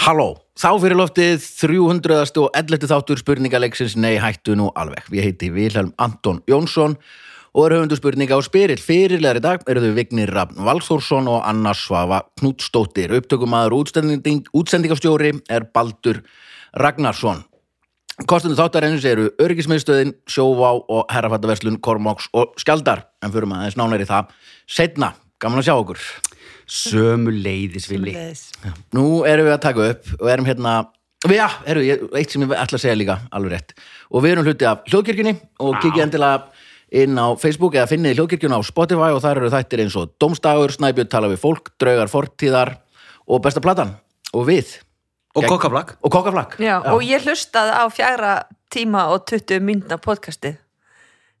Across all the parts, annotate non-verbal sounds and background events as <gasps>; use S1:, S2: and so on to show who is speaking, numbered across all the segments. S1: Halló, þá fyrir loftið 300. og 11. þáttur spurningaleiksins Nei, hættu nú alveg. Ég heiti Vilhelm Anton Jónsson og er höfundu spurninga á spyrill. Fyrirlegar í dag eru þau Vignir Rafn Valþórsson og Anna Svava Knútsdóttir. Upptökumaður og útsending, útsendingastjóri er Baldur Ragnarsson. Kostandi þáttarins eru örgismiðstöðin, sjóvá og herrafattaverslun, kormáks og skjaldar. En fyrir maður aðeins nánar í það setna. Gaman að sjá okkur.
S2: Sömu leiðis villi
S3: Svoleiðis.
S1: Nú erum við að taka upp og erum hérna við, já, erum við, eitt sem ég ætla að segja líka alveg rétt, og við erum hluti af hljóðkirkjunni og kikið endilega inn á Facebook eða finnið hljóðkirkjuna á Spotify og þar eru þættir eins og Dómstagur, Snæbjörn tala við fólk, Draugar fortíðar og Besta platan og við
S2: Og kokkaflag
S1: og Kokkaflakk
S3: Já, og ég hlustaði á fjagra tíma og 20 myndna podcastið.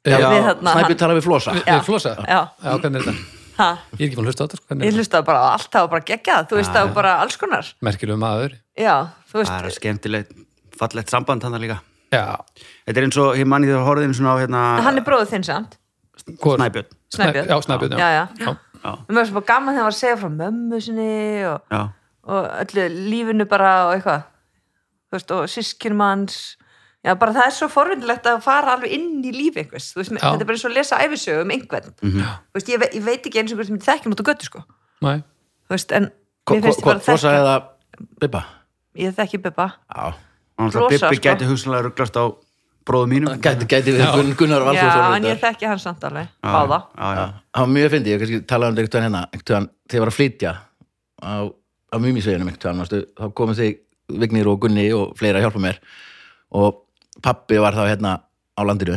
S4: Já,
S3: við þarna, hérna hann-
S1: Snæbjörn tala við flosa
S4: Við erum flosa?
S3: Já.
S4: Já, hvernig er þetta?
S3: Ha,
S4: Ég er ekki búin að hlusta á þetta, sko, hvernig
S3: ég
S4: er þetta?
S3: hlustaði bara á allt, það var bara geggjað, þú veist, það var bara alls konar.
S4: Merkilegum aður.
S3: Já, þú
S2: Það er
S3: veist,
S2: skemmtilegt, fallegt samband hann líka
S4: Já,
S2: Þetta er eins og, ég manni þegar horfðin svona á hérna
S3: hann er bróðið þinn samt,
S4: hvor?
S2: Snæbjörn
S3: Snæbjörn.
S4: Já, Snæbjörn,
S3: Já, já.
S4: já.
S2: Já,
S3: Mér var svo bara gaman þegar hann var að segja frá mömmu sinni og,
S2: já,
S3: og öllu lífinu bara og eitthvað, þú veist, og sískinum hans. Já, bara það er svo forvindilegt að fara alveg inn í lífi einhvers, þú veist, þetta er bara eins og að lesa æfisögu um einhvern. Þú veist, ég, ve ég veit ekki eins og hvort mér þekkjum út á götu, sko.
S4: Næ,
S3: Þú veist, en mér finnst ég bara
S1: Flosa eða Bibba
S3: ég þekki Bubba.
S1: Já,
S2: hann
S3: Rosa,
S2: alltaf Bibbi
S3: sko.
S2: gæti hugsanlega rugglast á bróðu mínum
S1: gæti, gæti við Gun- Gunnar
S3: Já,
S1: Valþórsson
S3: en ég
S1: reyndar.
S3: þekki hann samt alveg,
S2: Já,
S3: báða.
S2: Já, já,
S1: Það var mjög fyndið, ég kannski talaði um þetta einhvern hérna, einhvern þegar ég var að flytja á, á mýmisveginum einhvern veginn, þá komu þig Vignir og Gunni og fleira að hjálpa mér og pappi var þá hérna á landinu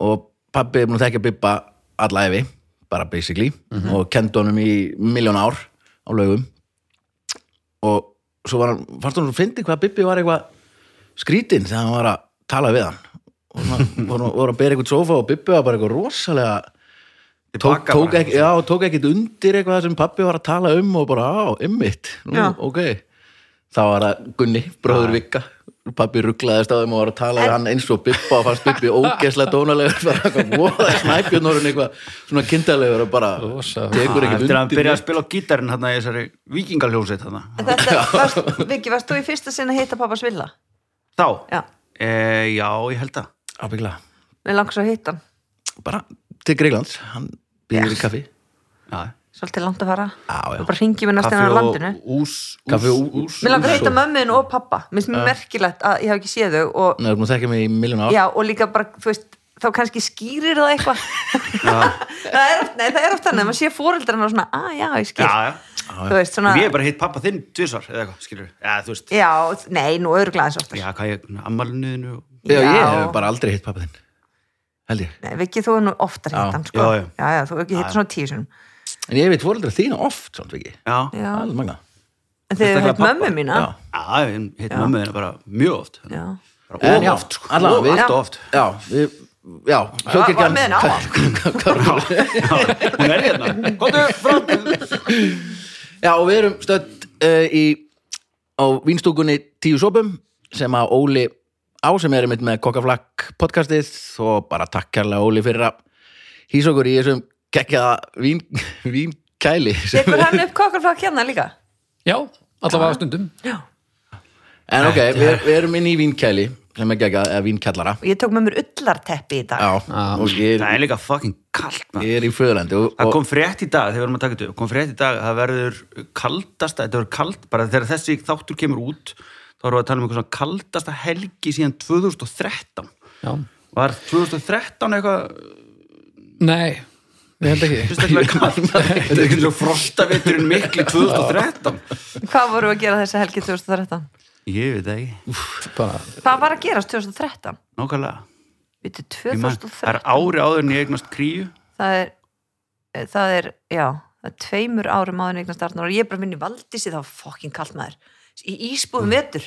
S1: og pappi er búin að þekka Bibba alla efi, bara basically
S2: Mhm.
S1: og kendi honum í miljón ár á laugum og svo var hann, fannst hann svo fyndið hvað Bibbi var eitthvað skrítinn þegar hann var að tala við hann og hann <laughs> voru, voru að bera eitthvað sofa og Bibbi var bara eitthvað rosalega tók,
S2: Tilbaka
S1: tók,
S2: bara.
S1: ekki, já, tók ekkit undir eitthvað sem pappi var að tala um og bara, á, ymmit, nú,
S3: Já.
S1: ok þá var það Gunni, bróður Vikka pappi rugglaðist á þeim og var að tala við hann eins og Bibba og fannst Bibbi ógeðslega dónalegur <laughs> bara eitthvað, voða snæpjörnorinn eitthvað svona kindalegur og bara
S4: Rosa.
S1: tekur
S2: Ah, Eftir
S1: ekkit
S2: að hann
S1: undir
S2: byrja að
S1: neitt.
S2: spila á gítarinn hérna í þessari vikingaljónsett hérna
S3: En Þetta, varst, Viki, varst þú í fyrsta sinna að hitta pappas villa?
S2: Þá,
S3: Já,
S2: e, já, ég held að
S1: ábyggilega,
S3: við langs að hitta hann,
S1: bara til Greiklands hann býður í kaffi
S2: Já,
S3: svolítið langt að fara.
S1: Já, já.
S3: Þú bara hringi mér næst
S2: kaffi
S3: innan
S2: og
S3: á landinu.
S2: ús,
S1: Kaffi
S2: ús,
S1: og
S2: ús
S3: Mér langar að
S1: Úlfur.
S3: hitta mömmuðin og pappa. Mér finnst mér merkilegt að ég hef ekki séð þau og,
S1: Nei, þú erum að þekka mig í miljón ár
S3: já, og líka bara, þú veist, þá kannski skýrir það eitthvað. <laughs> það er oft, nei, það er oft þannig, að maður sé fóreldrarna og svona, að já, ég skil.
S2: Já, já
S3: Þú veist, svona,
S2: Ég hef bara hitt pappa þinn tvisvar eða eitthvað, skilur Já, þú veist,
S3: já, nei, nú örglaðins oft.
S2: já, hvað ég, ammalinuðinu og
S1: já, ég hef bara aldrei hitt pappa þinn held ég,
S3: Nei, Viki, þú er nú oftar hitt
S1: Já,
S3: hann, sko.
S2: já, já.
S3: já, þú hefur ekki hitt svona tíu sinum.
S1: en ég veit fóreldra þína oft, svona ekki
S2: Já,
S3: Já,
S1: alveg magna
S3: en þið hefur
S2: Sérstaklega
S3: hitt mömmu mína.
S1: já
S2: Já, ég hitt mömmu þeirna bara mjög oft hérna.
S3: Já.
S2: bara
S1: En
S2: of
S1: já,
S2: oft, sko,
S1: allavega,
S2: of
S1: við-
S2: allt
S3: Já.
S2: of oft
S1: Já, við, já,
S3: var
S1: hljóðkirkjan
S3: með henni
S1: <laughs>
S3: á
S2: Hún er hérna, komdu fram
S1: Já, og við erum stödd uh, í á vínstúkunni Tíu Sopum sem að Óli á sem er einmitt með kokkaflakk podcastið og bara takk kærlega Óli fyrir að hýsa okkur í þessum geggjaða vín, <laughs> vínkæli sem
S3: Tekur
S1: við-
S3: hann upp kokkarflakk hérna líka?
S4: já, allavega stundum.
S1: En ok, við, við erum inn í vínkæli sem er geggjað, eða vínkjallara
S3: Og ég tók með mér ullarteppi í dag.
S1: Já, og ég
S2: Það
S1: er,
S2: er líka fucking kalt, maður
S1: ég er í föðurlandi og,
S2: Það
S1: og
S2: kom frétt í dag, þegar við erum að taka þetta upp, kom frétt í dag að það verður kaldasta, þetta verður kald bara þegar þessi þáttur kemur út þá erum við að tala um eitthvað svona kaldasta helgi síðan 2013
S4: Já.
S2: Var 2013 eitthvað
S4: Nei, ég held ekki.
S2: fyrstaklega kalt? <laughs> Þetta er eitthvað svo frostaviturinn mikli 2013
S3: Hvað voru að gera þessa helgi 2013?
S2: Ég veit það ekki,
S4: Bara,
S3: Hvað var að gerast 2013?
S2: nákvæmlega
S3: Vittu,
S2: Ég man- Það er
S3: 2013?
S2: ári áður en ég eignast kríu
S3: Það er, eh, það er, já, það er tveimur árum áður en eignast Arnar og ég er bara minni valdísi þá fokkin kallt maður. Í ísbúðum vetur,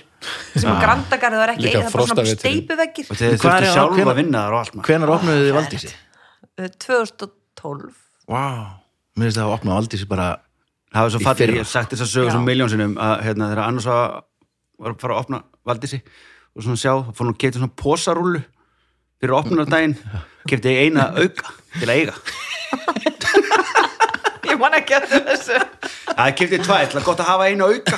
S3: sem á grandagarið var ekki
S4: Líka
S3: eigið, það er bara svona
S4: frostaveturinn.
S3: steipuveggir.
S2: og þeir
S1: Hvað er
S2: þurftu
S1: það?
S2: sjálf
S1: Hvenær-
S2: að vinna þar og allt maður
S1: hvenar opnuðu þið Valdísi?
S3: Eh, 2012.
S1: Vá, mér finnst það að opna Valdísi bara
S2: það var svo
S1: Í
S2: fattir,
S1: fyrra.
S2: ég hef sagt þess að sögur
S3: Já.
S2: svo miljónsinnum að hérna, þegar annars var var að fara að opna Valdísi og svona sjá, fór hún að geta svona posarúlu fyrir opnunardaginn kefti ég eina auka til að eiga <laughs>
S3: Ég man ekki að þessu.
S2: Það kipti tvær, það er gott að hafa einu auka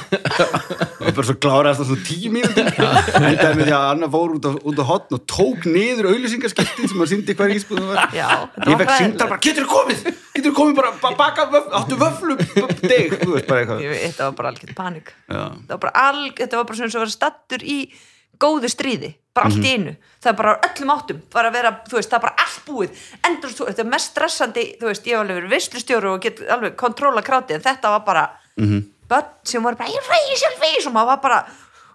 S2: og bara svo kláraðast það svo tíu mínútur endaði með því að Anna fór út á, út á hotn og tók niður auðlýsingaskiltin sem að syndi hver ísbúðum var
S3: Já,
S2: Ég
S3: þetta var
S2: fekk
S3: hræðilegt.
S2: syndar bara, getur þú komið? Getur þú komið bara, bara baka vöfl, áttu vöflum deg, þú veist bara eitthvað
S3: Ég veit, Þetta var bara algjörð panik
S2: Já.
S3: Þetta var bara alg, þetta var bara svona svo að vera stattur í góðu stríði, bara allt í
S2: Mhm.
S3: einu það er bara á öllum áttum, bara að vera þú veist, það er bara allt búið, endur þú þetta er mest stressandi, þú veist, ég hef alveg verið vislustjóru og get alveg kontróla kráti en þetta var bara, -hmm.
S2: Mhm.
S3: börn sem var bara, ég reyði sjálf og maður var bara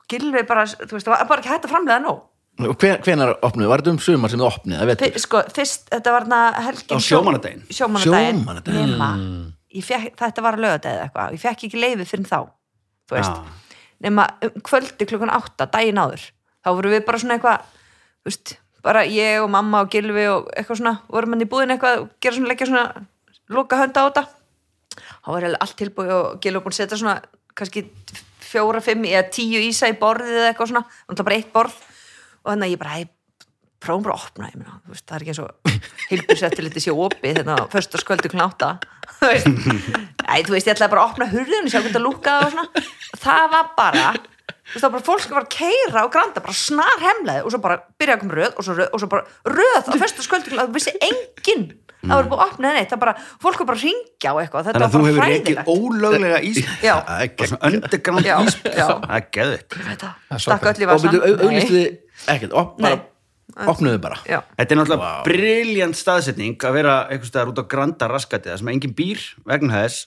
S3: gilvið bara, þú veist, það var bara ekki hægt að framlega nóg,
S1: Og hven- hvenær opnuðu? Var þetta um sumar sem þið opnuðu? Það
S3: F
S1: veit
S3: sko, fyrst, þetta var hérna helgin
S2: Á sjómannadaginn. Mm.
S3: sjómanadaginn,
S1: Sjómannadaginn.
S3: nema ég fekk, þetta var að lögða eða eitthvað, ég fekk ekki leiði fyrir þá, þú veist
S2: Já.
S3: nema um kvöldi klukkan átta daginn áður þá vorum við bara svona eitthvað þú veist, bara ég og mamma og Gilvi og eitthvað svona, vorum hann í búðin eitthvað og gera svona, leggja svona, loka hönda á þetta þá var allt tilbúið og Gilvi búin að setja svona, kannski fjóra, fimm eða tíu ísa í borðið eða eitthvað svona, þannig bara eitt borð og þannig að ég bara, hei, prófum bara að opna ég meina, þú veist, það er ekki eins og hilbjörsettir litið sé opið þetta á föstaskvöldu knáta <laughs> þú veist, Æ, þú veist, ég ætlaði bara að opna hurðinu, sjá hvernig það lúkaði og svona, það var bara þú veist, það var bara fólk sem var að keira og granda, bara snar hemlaði og svo bara byrjaði að koma röð og svo röð og svo bara röð á föstaskvöldu knáta, það vissi enginn það var búið að opna neitt, það bara, fólk var bara að ringja og eitthvað, þetta
S2: Þannig að þú
S3: var
S2: hefur
S3: bara
S2: ekki
S3: hræðilegt
S2: ólöglega ísbúð
S3: Já.
S2: Það er gegn- svona underground
S3: Já, já.
S2: ísbúð Það er geðvitt
S3: Þetta,
S4: Það er
S3: stakk
S4: svakalegt.
S3: öll í
S1: Og byrju,
S3: vasan
S1: auðlistu þið ekkert, op, bara, opnuðu bara.
S3: Já,
S2: Þetta er náttúrulega
S1: Vá.
S2: wow. briljant staðsetning að vera einhvers staðar út á granda raskatið þar sem engin býr vegna þess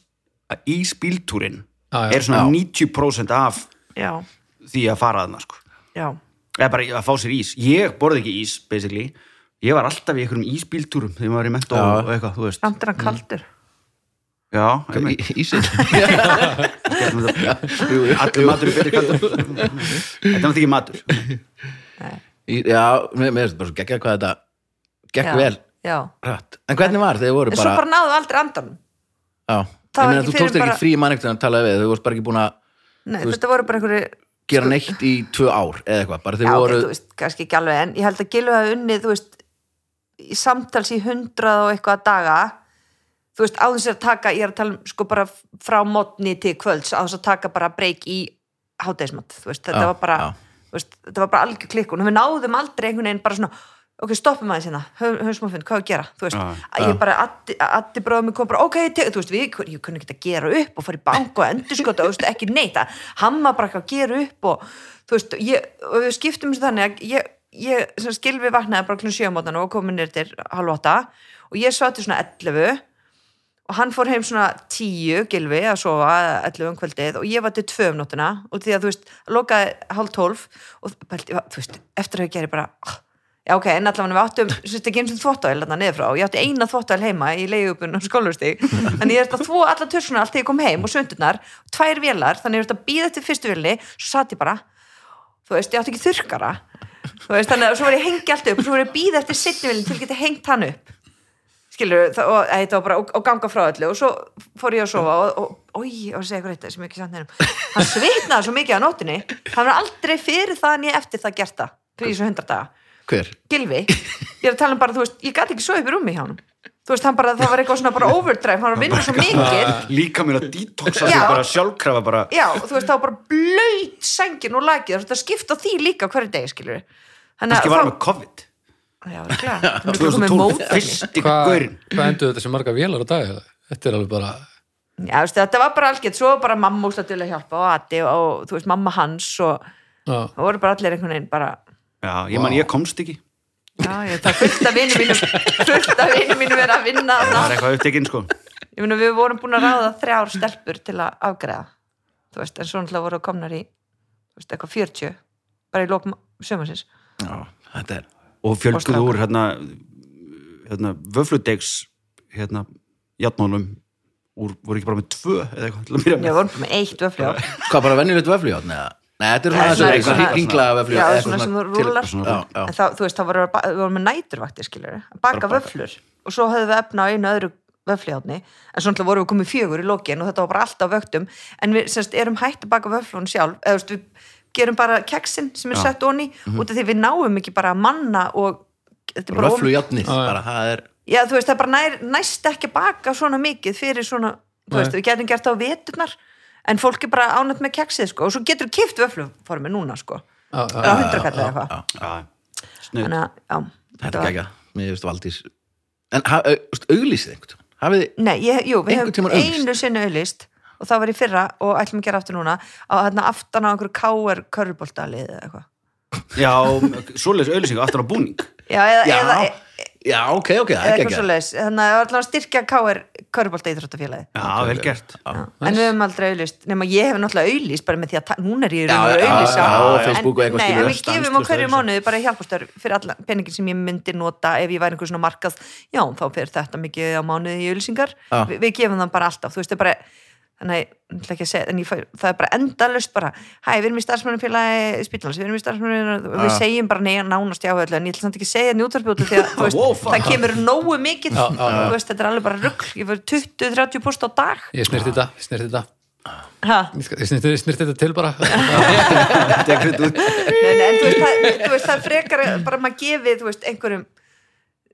S2: að ísbíltúrin
S4: Já, já.
S2: er svona
S1: Já.
S2: 90% af
S3: já,
S2: því að fara aðna sko.
S3: já
S2: eða bara að fá sér ís, ég borði ekki ís basically, ég var alltaf í einhverjum ísbíltúrum þegar maður var í mentó
S1: Já.
S2: og eitthvað, þú veist
S3: Samt er hann kaldur
S2: Já, ég meina,
S1: Í- Ísinn.
S2: allur matur er betri kaldur Þetta er náttúrulega ekki matur
S1: Í- Já, mér mér finnst bara svo geggjað hvað þetta gekk
S3: Já,
S1: vel
S3: Já,
S1: rætt. En hvernig var þegar þið voru
S3: en svo
S1: bara,
S3: bara náðu aldrei andanum
S1: já, ég
S3: Það var
S1: meina
S3: ekki
S1: þú
S3: fyrir
S1: tókst þér
S3: bara-
S1: ekki frí mannektuðan að tala við, þau voru bara ekki búin að
S3: Nei,
S1: Þú
S3: þetta voru bara einhverju
S1: gera neitt í tvö ár eða eitthvað, bara þau
S3: Sko- Já,
S1: voru
S3: þú veist, kannski ekki alveg En ég held að Gylfi hafi unnið, þú veist í Samtals í hundrað og eitthvað daga Þú veist, á þess að taka Ég er að tala um sko bara frá mótni til kvölds Á þess að taka bara breyk í Hádeismat, þú veist, þetta
S1: Já,
S3: var bara
S1: já.
S3: þú veist, Þetta var bara algjör klikkun og Við náðum aldrei einhvern veginn bara svona Ok, stoppum aðeins hérna, höfum höfum smá fund, hvað á að gera? Þú veist,
S2: Já,
S3: ég bara, Addi- Addi bróðum mig kom bara, ok, te, þú veist, við, ég kunni ekki að gera upp og fara í bank og endurskota, þú veist, ekki neitt að hamma bara ekki að gera upp og þú veist, ég, og við skiptum þessu þannig að ég, ég sem skilfi vaknaði bara klun sjömótan og komin nýr til halvóta og ég svo til svona 11 og hann fór heim svona 10 gilfi að sofa eða 11 um kvöldið og ég var til 2 um nóttina og því að þú veist, lokaði hálf 12 og pældi, þú veist, eftir að ég geri bara ah, já ok, en allavega við áttum þú veist ekki eins og þvóttavél þarna niður frá og ég átti eina þvóttavél heima í leiðupunum skólustíg þannig ég er þetta þvó alla törsuna allt þegar ég kom heim og söndunar, tvær vélar þannig ég er þetta býða til fyrstu vélni svo satt ég bara, þú veist, ég átti ekki þurrkara þú veist, þannig að svo var ég að hengja allt upp og svo var ég að býða eftir setni vélni til að geta hengt hann upp skilur, og eða, þetta var bara og, og ganga frá öllu og svo fór ég að sofa og, og, og ég var að segja ykkur eitthvað sem ég ekki samt nefnum hann svitnaði svo mikið á nóttinni hann var aldrei fyrir það en ég eftir það gert það fyrir þessu hundra daga,
S1: hver?
S3: gilfi ég er að tala um bara, þú veist, ég gæti ekki svo upp í rúmi hjá hann þú veist, hann bara, það var eitthvað svona bara overdrive hann var
S2: Oh
S3: að vinna svo mikið
S2: Líka mér að detoxa sig
S3: Já.
S2: bara sjálfkrafa bara
S3: já, og þú veist, þá var bara blöyt sengin og lakið, þú veist, að skipta því líka á hverju degi, skilur
S2: Kannski var hann með COVID
S3: já,
S2: <laughs>
S3: örugglega. Hann er bara komið
S2: 2012,
S3: mótefni.
S2: fyrsti
S4: Hvað
S2: gaurin
S4: hva endur þetta sem marga vélar á dag? eða? Þetta er alveg bara,
S3: Já, veist, þetta var bara algjört, svo var bara mamma úsla til að hjálpa og Adi og, og þú veist, mamma hans og
S4: já,
S3: það voru bara allir einhvern veginn bara
S2: Já, ég man, ég komst ekki
S3: já, ég, það fullt af vinum mínum fullt af vinum mínum er að vinna
S2: Það var
S3: þarna.
S2: eitthvað upptekinn, sko
S3: ég meina við vorum búin að ráða þrjár stelpur til að afgreða þú veist, en svo náttúrulega voru komnar í þú veist, eitthvað 40 bara í lókum sömarsins
S1: Já, þetta er
S2: Og fjölguð
S3: Og strákar.
S2: úr, hérna, hérna Vöfludegs, hérna Játmálum úr, voru ekki bara með tvö Eða eitthvað, til að byrja
S3: við
S2: með
S3: vorum bara með eitt vöfli á
S1: Hvað bara venjulegt vöfljótt? Nei, nei, þetta er
S3: Já,
S1: svona
S3: svona-
S1: þessu
S2: svona-
S1: ringla vöfljótt
S3: Já,
S1: eða
S3: svona sem þú
S1: til-
S3: rúlar.
S1: svona- Já, já.
S3: en þá, þú veist, þá vorum við, bara- við vorum með næturvaktir skilur, að baka vöflur og svo höfðum við efna á einu öðru vöflihátni en svo náttúrulega vorum við komið fjögur í lokin og þetta var bara alltaf vöktum en við semst, erum hægt að baka vöflun sjálf eða þú veist, við gerum bara keksin sem er
S2: Já.
S3: sett onni út af því við náum ekki bara að manna og þetta er bara of-
S1: Vöflujárnið,
S4: Já, já.
S1: bara það er
S3: Já, þú veist, það bara nær, næst ekki að baka svona mikið fyrir svona þú veist, við getum gert það á veturnar en fólk er bara ánætt með keksið sko, og svo getur við kift vöfluformi núna sko,
S4: Já, já,
S3: á hundrakallið eitthvað
S2: já, snuð
S3: þannig að, já
S1: Þetta er ekki ekki, mér finnst Valdís En ha- au- þú veist, auglýsið einhvern tímann Hafið þið
S3: Nei, ég, jú, við
S1: Einhvern
S3: höfum
S1: tímann auglýst.
S3: einu sinni auðlist og það var í fyrra og ætlum að gera aftur núna á þarna aftan á einhverju káer körfuboltalið eða eitthvað
S2: já, svoleiðis auðlýsing aftur á búning
S3: Já, eða,
S1: Já,
S3: eða, e-
S1: já, ok, ok, það er
S3: eða
S1: ekki
S3: eitthvað
S1: ekki
S3: svo leis þannig að það var alltaf að styrkja káer körfubolta íþróttafélagi
S2: já, vel
S3: <laughs>
S2: gert
S3: en við höfum aldrei auðlist, nema ég hef náttúrulega auðlist bara með því að ta- núna er ég í raun
S1: Já,
S3: og
S1: já,
S3: auðlisa
S1: já, já, Facebook og eitthvað
S3: nei,
S1: skilur.
S3: en við gefum á
S2: Stanslaust
S3: hverju
S2: auglýsa.
S3: mánuði bara hjálpastörf fyrir alla peningin sem ég myndi nota ef ég væri einhver svona markað já, þá fyrir þetta mikið á mánuði í auðlisingar
S1: Já.
S3: Vi, við gefum það bara alltaf, þú veist, það er bara þannig, ég ætla ekki að segja, en ég fæ, það er bara endalust bara, hæ, við erum í starfsmannafélagi spítalans, við erum í starfsmannafélagi og við
S1: Já. segjum
S3: segjum bara neina nánast jáhauðlega en ég ætla samt ekki að segja njútarbjótu
S1: <laughs>
S3: því að þú veist,
S2: Wow, fuck.
S3: það kemur nógu mikið
S4: Já, já, já.
S3: Þú veist, þetta er alveg bara rugg ég fyrir 20-30 púst á dag
S4: Ég snirti þetta, ég snirti þetta
S3: ha.
S4: Ég skal- Ég snirti, ég snirti þetta til bara
S2: Tekur þetta út.
S3: nei, nei, en þú veist, það, þú veist, það er frekar að bara maður gefið, þú veist, einhverjum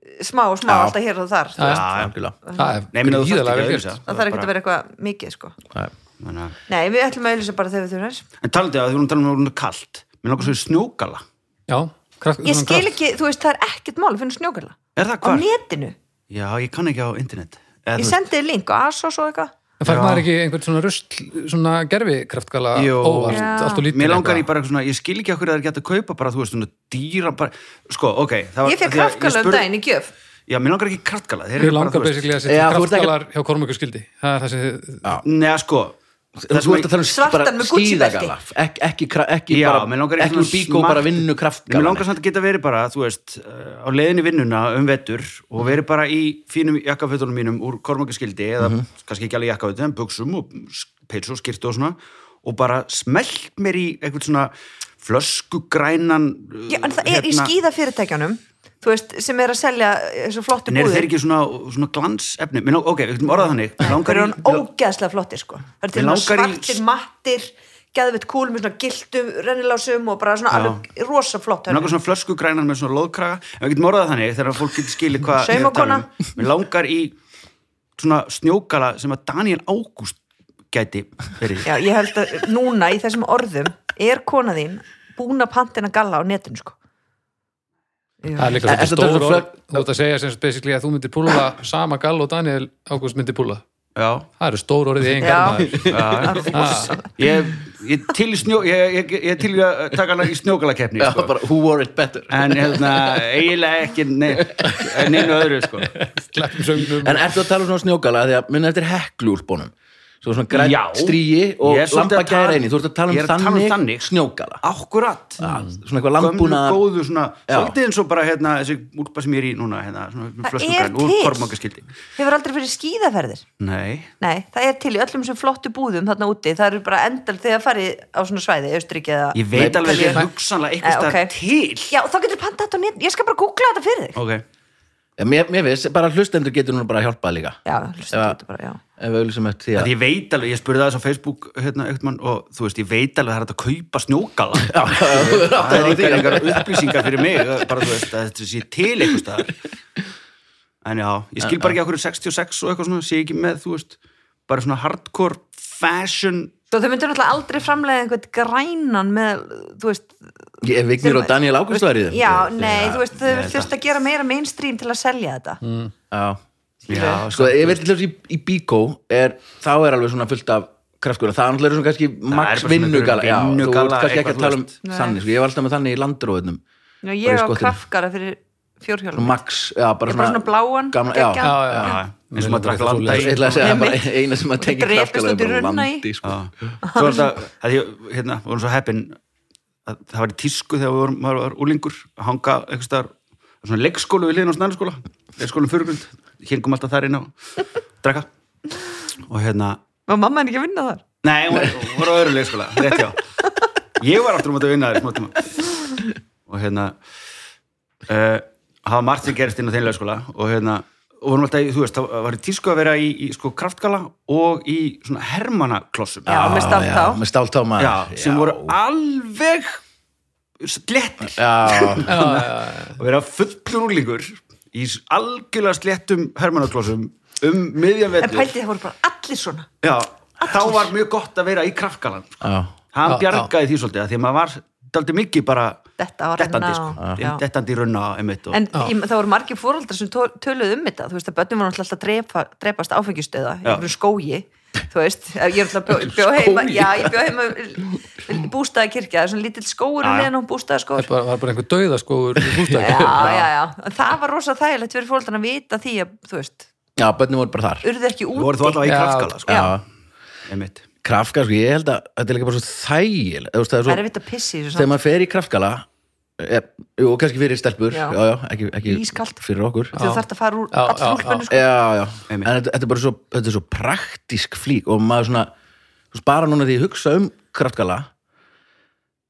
S3: eh, smá, smá,
S1: Já.
S3: alltaf hér og þar þú
S4: Já.
S3: veist,
S1: Já, algjörlega.
S4: Það er
S2: Nei, minna þú þarft ekki
S4: gríðarlega
S2: að
S4: vel
S2: auðlýsa
S4: gert.
S3: það þarf ekki að vera eitthvað mikið, sko
S1: Það er-
S2: vera
S3: nei, við ætlum að auðlýsa bara þegar við þurfum þess
S2: En talandi að þú erum talað um að hún er kalt Mér langar svo í snjókala
S4: Já, kraft,
S3: ég skil ekki, þú veist, það er ekkert mál að finna snjókala
S2: Er það
S3: á
S2: hvar?
S3: netinu,
S2: Já, ég kann ekki á internet Eða,
S3: ég
S2: þú
S3: sendi þér link og asos og eitthvað
S4: En fær
S2: Já.
S4: maður ekki einhvern svona rusl svona gerfi kraftgala
S2: Jú.
S4: óvart,
S3: Já.
S4: allt og
S2: veist,
S4: lítið
S2: Mér langar í bara eitthvað svona Ég skil ekki okkur að það er gett að kaupa bara, þú veist, svona dýra bara, Sko, ok það var-
S3: ég fekk
S2: því að
S3: kraftkala um
S2: spurði-
S3: daginn í gjöf
S2: Já, mér langar ekki kraftkala þeir
S4: Mér
S2: eru bara,
S4: langar
S2: þú veist-
S4: basically
S1: Já,
S4: að
S1: þú
S4: setja
S1: ert ekki-
S4: kraftgalar hjá Kormáku skildi Það er það sem
S2: Nei, sko það
S1: Þú
S2: sem
S1: ert að
S2: ég-
S1: tala um
S3: Svartan
S1: bara
S3: með Gucci belti.
S1: skíðagalla Ek, ekki, kra- ekki,
S2: Já,
S1: bara,
S2: mig langar í
S1: ekki
S2: svona
S1: úr bíkó,
S2: smart-
S1: bara vinnu
S2: Mér
S1: kraftgalla
S2: langar samt að geta verið bara, þú veist, uh, á leiðinni í vinnuna um vetur og verið bara í fínum jakkafötunum mínum úr kormakaskildi eða kannski ekki alveg jakkafötunum, en buksum og peitsu og skirtu og svona og bara smelt mér í eitthvað svona flöskugrænan uh,
S3: Já, en það er í skíðafyrirtækjanum þú veist, sem er að selja þessu flottu
S2: En eru þeir
S3: búðir
S2: ekki svona, svona glansefni? Mér lang- Ok, við getum orðað þannig. Mig
S3: þeir
S2: Langar
S3: eru
S2: í,
S3: hann ógeðslega flottir sko það er til
S2: Mig
S3: og með
S2: langar í-
S3: svartir mattir geðvitt kúl með svona giltum rennilásum og bara svona
S2: Já.
S3: alveg rosa flott
S2: Mér
S3: hönnun.
S2: langar svona flöskugrænan með svona lóðkraga en við getum orðað þannig þegar fólk getur skilið hvað ég er að tala
S3: Saumakona.
S2: um. Mér langar í svona snjókala sem að Daniel Ágúst gæti verið í.
S3: Já, ég held að núna í þessum orðum er kona þín búin að pantina galla á netinu sko Já.
S4: það er líka
S1: Er-
S4: svolítið
S1: ertu að tala um
S4: stór orð
S1: flögg-
S4: Þú ert að segja sem sagt basically að þú myndir púla sama gall og Daniel Ágúst myndir púla
S2: Já,
S4: Það eru stór orðið í einn
S3: Já.
S4: garmaður
S2: já. Ég, ég til í snjó ég, ég, ég til í að taka hana í snjókala keppni
S1: Já,
S2: sko.
S1: bara, Who wore it better
S2: en hérna, eiginlega ekki ne, neinu öðru sko.
S4: Sleppum sögnum
S1: En ertu að tala um svona snjókala því að minna eftir heklúlbónum Svo svona græn
S2: Já.
S1: stríi og
S2: Ég er svolítið að tala-
S1: lambagæra einni Þú ert að tala
S2: Ég er
S1: um
S2: að tala um
S1: þannig,
S2: þannig.
S1: snjókala
S2: Akkurat
S1: Svona eitthvað
S2: gömlu
S1: lambúnaðar
S2: góðu svona,
S1: Já.
S2: svolítið eins og bara hérna, þessi úrpa sem ég er í núna hérna, svona
S3: Það er
S2: flöskugræn úr
S3: til.
S2: kormangaskildi
S3: hefur aldrei fyrir skíðaferðir
S2: Nei,
S3: Nei, það er til í öllum sem flottu búðum þarna úti, það eru bara endal þegar farið á svona svæði, Austuríki eða
S2: Ég veit alveg að
S3: Ítalíu.
S2: ég er hugsanlega
S3: Eh,
S2: eitthvað
S3: ok.
S2: til
S3: Já, þá getur panta þetta á net, ég skal bara googla þetta fyrir þig
S2: Ok,
S1: Já, Mér, mér finnst, bara hlustendur getur núna bara að hjálpa líka
S3: Já, hlustu
S1: Já.
S3: þetta bara, já
S1: Ef við auðvitað eftir því
S2: að
S1: að
S2: ég veit alveg, ég spurði það þess á Facebook hérna, einhvern mann og þú veist, ég veit alveg að það er hægt að kaupa snjókala
S1: <laughs> Já, þú er átt
S2: Það
S1: að
S2: er
S1: því
S2: einhver einhver upplýsingar fyrir mig eh, bara þú veist, að þetta sé til einhvers staðar En já, ég skil bara ekki okkur 66 og eitthvað svona, sé ekki með, þú veist bara svona hardcore fashion
S3: Svo þau myndir náttúrulega aldrei framlega einhvern grænan með, þú veist
S1: Ég er Vignir og Daniel Ágúst var í þeim
S3: Já, nei, þú veist,
S2: nei,
S3: þau þurft að gera meira mainstream til að selja þetta
S1: Já,
S2: Já,
S1: sko, ég veit til þess í, í Bíkó er, þá er alveg svona fullt af kraftskur það er náttúrulega svona kannski
S2: er
S1: max
S2: bara svona
S1: vinnugala já, þú
S2: vinnugala,
S1: ert kannski ekki
S2: eitthvað,
S1: að tala um
S2: þú
S3: veist.
S1: þannig, sko, ég var alltaf með þannig í landróðunum
S3: Já,
S1: Bara í
S3: ég á
S1: skottinu.
S3: krafkara fyrir fjórhjólum
S1: max, já, bara
S3: Ég bara svona bláan,
S1: gamla, já,
S3: geggjan.
S1: já,
S4: já.
S2: Já, eins og maður drakk
S4: Mér
S2: landa
S4: langar
S2: í
S1: ég ætla að segja
S3: Einmitt.
S1: bara eina sem að tengja
S3: Drepist
S1: kraftskur
S3: út í runna í.
S1: sko.
S2: Svo er þetta, að ég, hérna, vorum svo heppin að það var í tísku þegar við vorum, maður var úlingur að hanga einhvers staðar á svona leikskólu við liðin á um snæðarskóla, leikskólum fyrirgrund, hengum alltaf þar inn á drekka og hérna,
S3: Var mamma henni ekki að vinna þar?
S2: nei, hún var, hún var á öðru leikskóla, rétt já. Ég var aftur um að vinna þér smá tíma og hérna, uh, hafa margt sem gerist inn á þeim leikskóla og hérna, og vorum alltaf, í, þú veist, það var í tísku að vera í, í sko kraftgala og í svona hermanaklossum.
S3: Já, með stáltá
S1: já, með stáltáma
S2: já, sem voru alveg slettir
S1: já,
S4: Já, já, já.
S2: að vera fullur úrlingur í s- algjörlega slettum hermanaklósum um miðjan
S3: En
S2: vetur
S3: pældi það voru bara allir svona
S2: já, þá var mjög gott að vera í krafkalan sko.
S1: já,
S2: hann
S4: Já,
S2: bjargaði því svolítið af því að maður var daldið mikið bara
S3: Þetta var
S2: dettandi,
S3: hérna
S2: sko.
S3: á- já.
S2: dettandi í runna einmitt, og,
S3: En í, það voru margir fóröldar sem tó- töluðu um þetta, þú veist að börnum voru náttúrulega alltaf að drepa, drepast áfengistöða í
S2: Já.
S3: einhverjum skógi, þú veist ég er alltaf bjó, bjó heima,
S2: Skógi?
S3: já, ég bjó heima bústaði kirkja, það er svona lítill skóur
S2: Já,
S3: um
S2: já.
S3: leiðan og bústaði skóur
S4: Það var bara einhver dauðaskóður í
S3: já,
S4: húsdæk.
S3: já, já, en það var rosa þægilegt fyrir fóröldar að vita því að, þú veist
S1: já, börnum voru bara þar
S3: urðu ekki
S2: voru þú
S3: úti
S2: allavega í
S4: Já.
S2: krafkala sko.
S1: já,
S2: einmitt
S1: krafka, sko, ég held að þetta er líka bara svo þægil þú veist, það er
S3: það er
S1: svo,
S3: vitt að pissi í þessu
S1: þegar maður fer í krafkala e, og kannski fyrir stelpur já,
S3: Já.
S1: já, ekki,
S3: Ískalt.
S1: ekki fyrir okkur
S3: samt. þú þarft að fara úr
S4: Já, já,
S3: allir
S4: já.
S3: húlpunni sko.
S1: já, já, en
S2: Einmitt.
S1: þetta, þetta er bara svo, þetta er svo praktísk flík og maður svona þú veist, bara núna því ég hugsa um kraftgala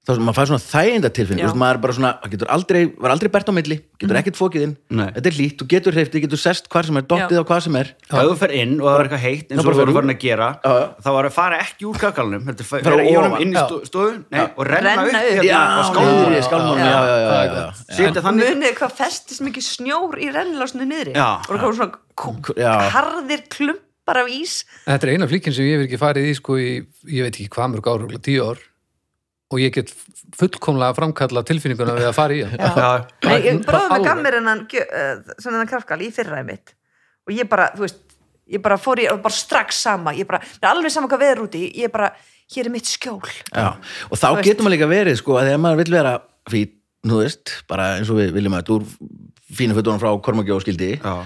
S1: þá sem maður fær svona þæginda tilfinn
S3: Já. Mhm.
S1: maður er bara svona, það getur aldrei, var aldrei bært á milli getur ekkert fókið inn,
S2: Nei.
S1: þetta er lít þú getur hreifti, getur sest hvar sem er, dottið á hvað sem er
S2: ef þú fer inn og það var eitthvað heitt eins
S1: Já, bara
S2: og þú
S1: fer
S2: voru
S1: út.
S2: farin að gera
S1: Já, já.
S2: þá var að fara ekki úr krafkalanum heldur fer-
S1: Fara
S2: fara í honum
S1: ofan.
S2: inn í
S4: Já.
S2: sto- stofu nei, og renna,
S3: Renna
S2: upp,
S3: upp.
S2: hérna á skálmunum.
S1: niður í skálmunum,
S3: Já.
S1: já, já, já, já, já.
S2: sitja
S3: og
S2: þannig
S3: munið hvað festist mikið snjór í rennlásnu niðri
S2: Já,
S3: og það kom svona kú-
S1: Já.
S3: harðir klumpar af ís
S4: Þetta er eina flíkin sem ég hef ekki farið í sko í, ég veit ekki hvað mörg ár, örugglega tíu ár og ég get fullkomlega framkalla tilfinninguna við að fara í hann.
S2: Já.
S3: Nei, ég
S4: Það-
S3: bráði með
S4: alveg.
S3: gammir en hann eh, sem hann krafkal í fyrra mitt og ég bara, þú veist ég bara fór í, og bara strax sama ég bara, það er alveg sama hvað veður úti ég bara, hér er mitt skjól
S1: Já. og þá
S3: veist.
S1: getur maður líka verið sko, að þegar maður vill vera fít, þú veist bara eins og við viljum að þetta úr fínu fötunum frá Kormaki og skildi
S2: Já.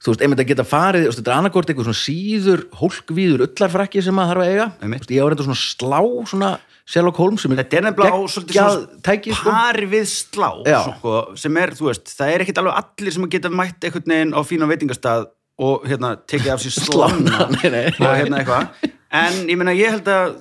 S1: þú veist, einmitt að geta farið, þú veist, þetta er annarkort eitthvað svona síður, hólkvíður, ullarfrakki sem maður þarf að eiga, þú
S2: Einmitt.
S1: veist, ég á reynda svona slá svona Sherlock Holmes sem
S2: þetta er nefnilega á svolítið svona
S1: tæki, sko.
S2: pari við slá
S1: Já.
S2: sko, sem er, þú veist, það er ekkit alveg allir sem geta mætt einhvern veginn á fína veitingastað og hérna, tekið af sér
S1: <laughs>
S2: slána og
S1: Nei, nei.
S2: hérna eitthvað en ég meina, ég held að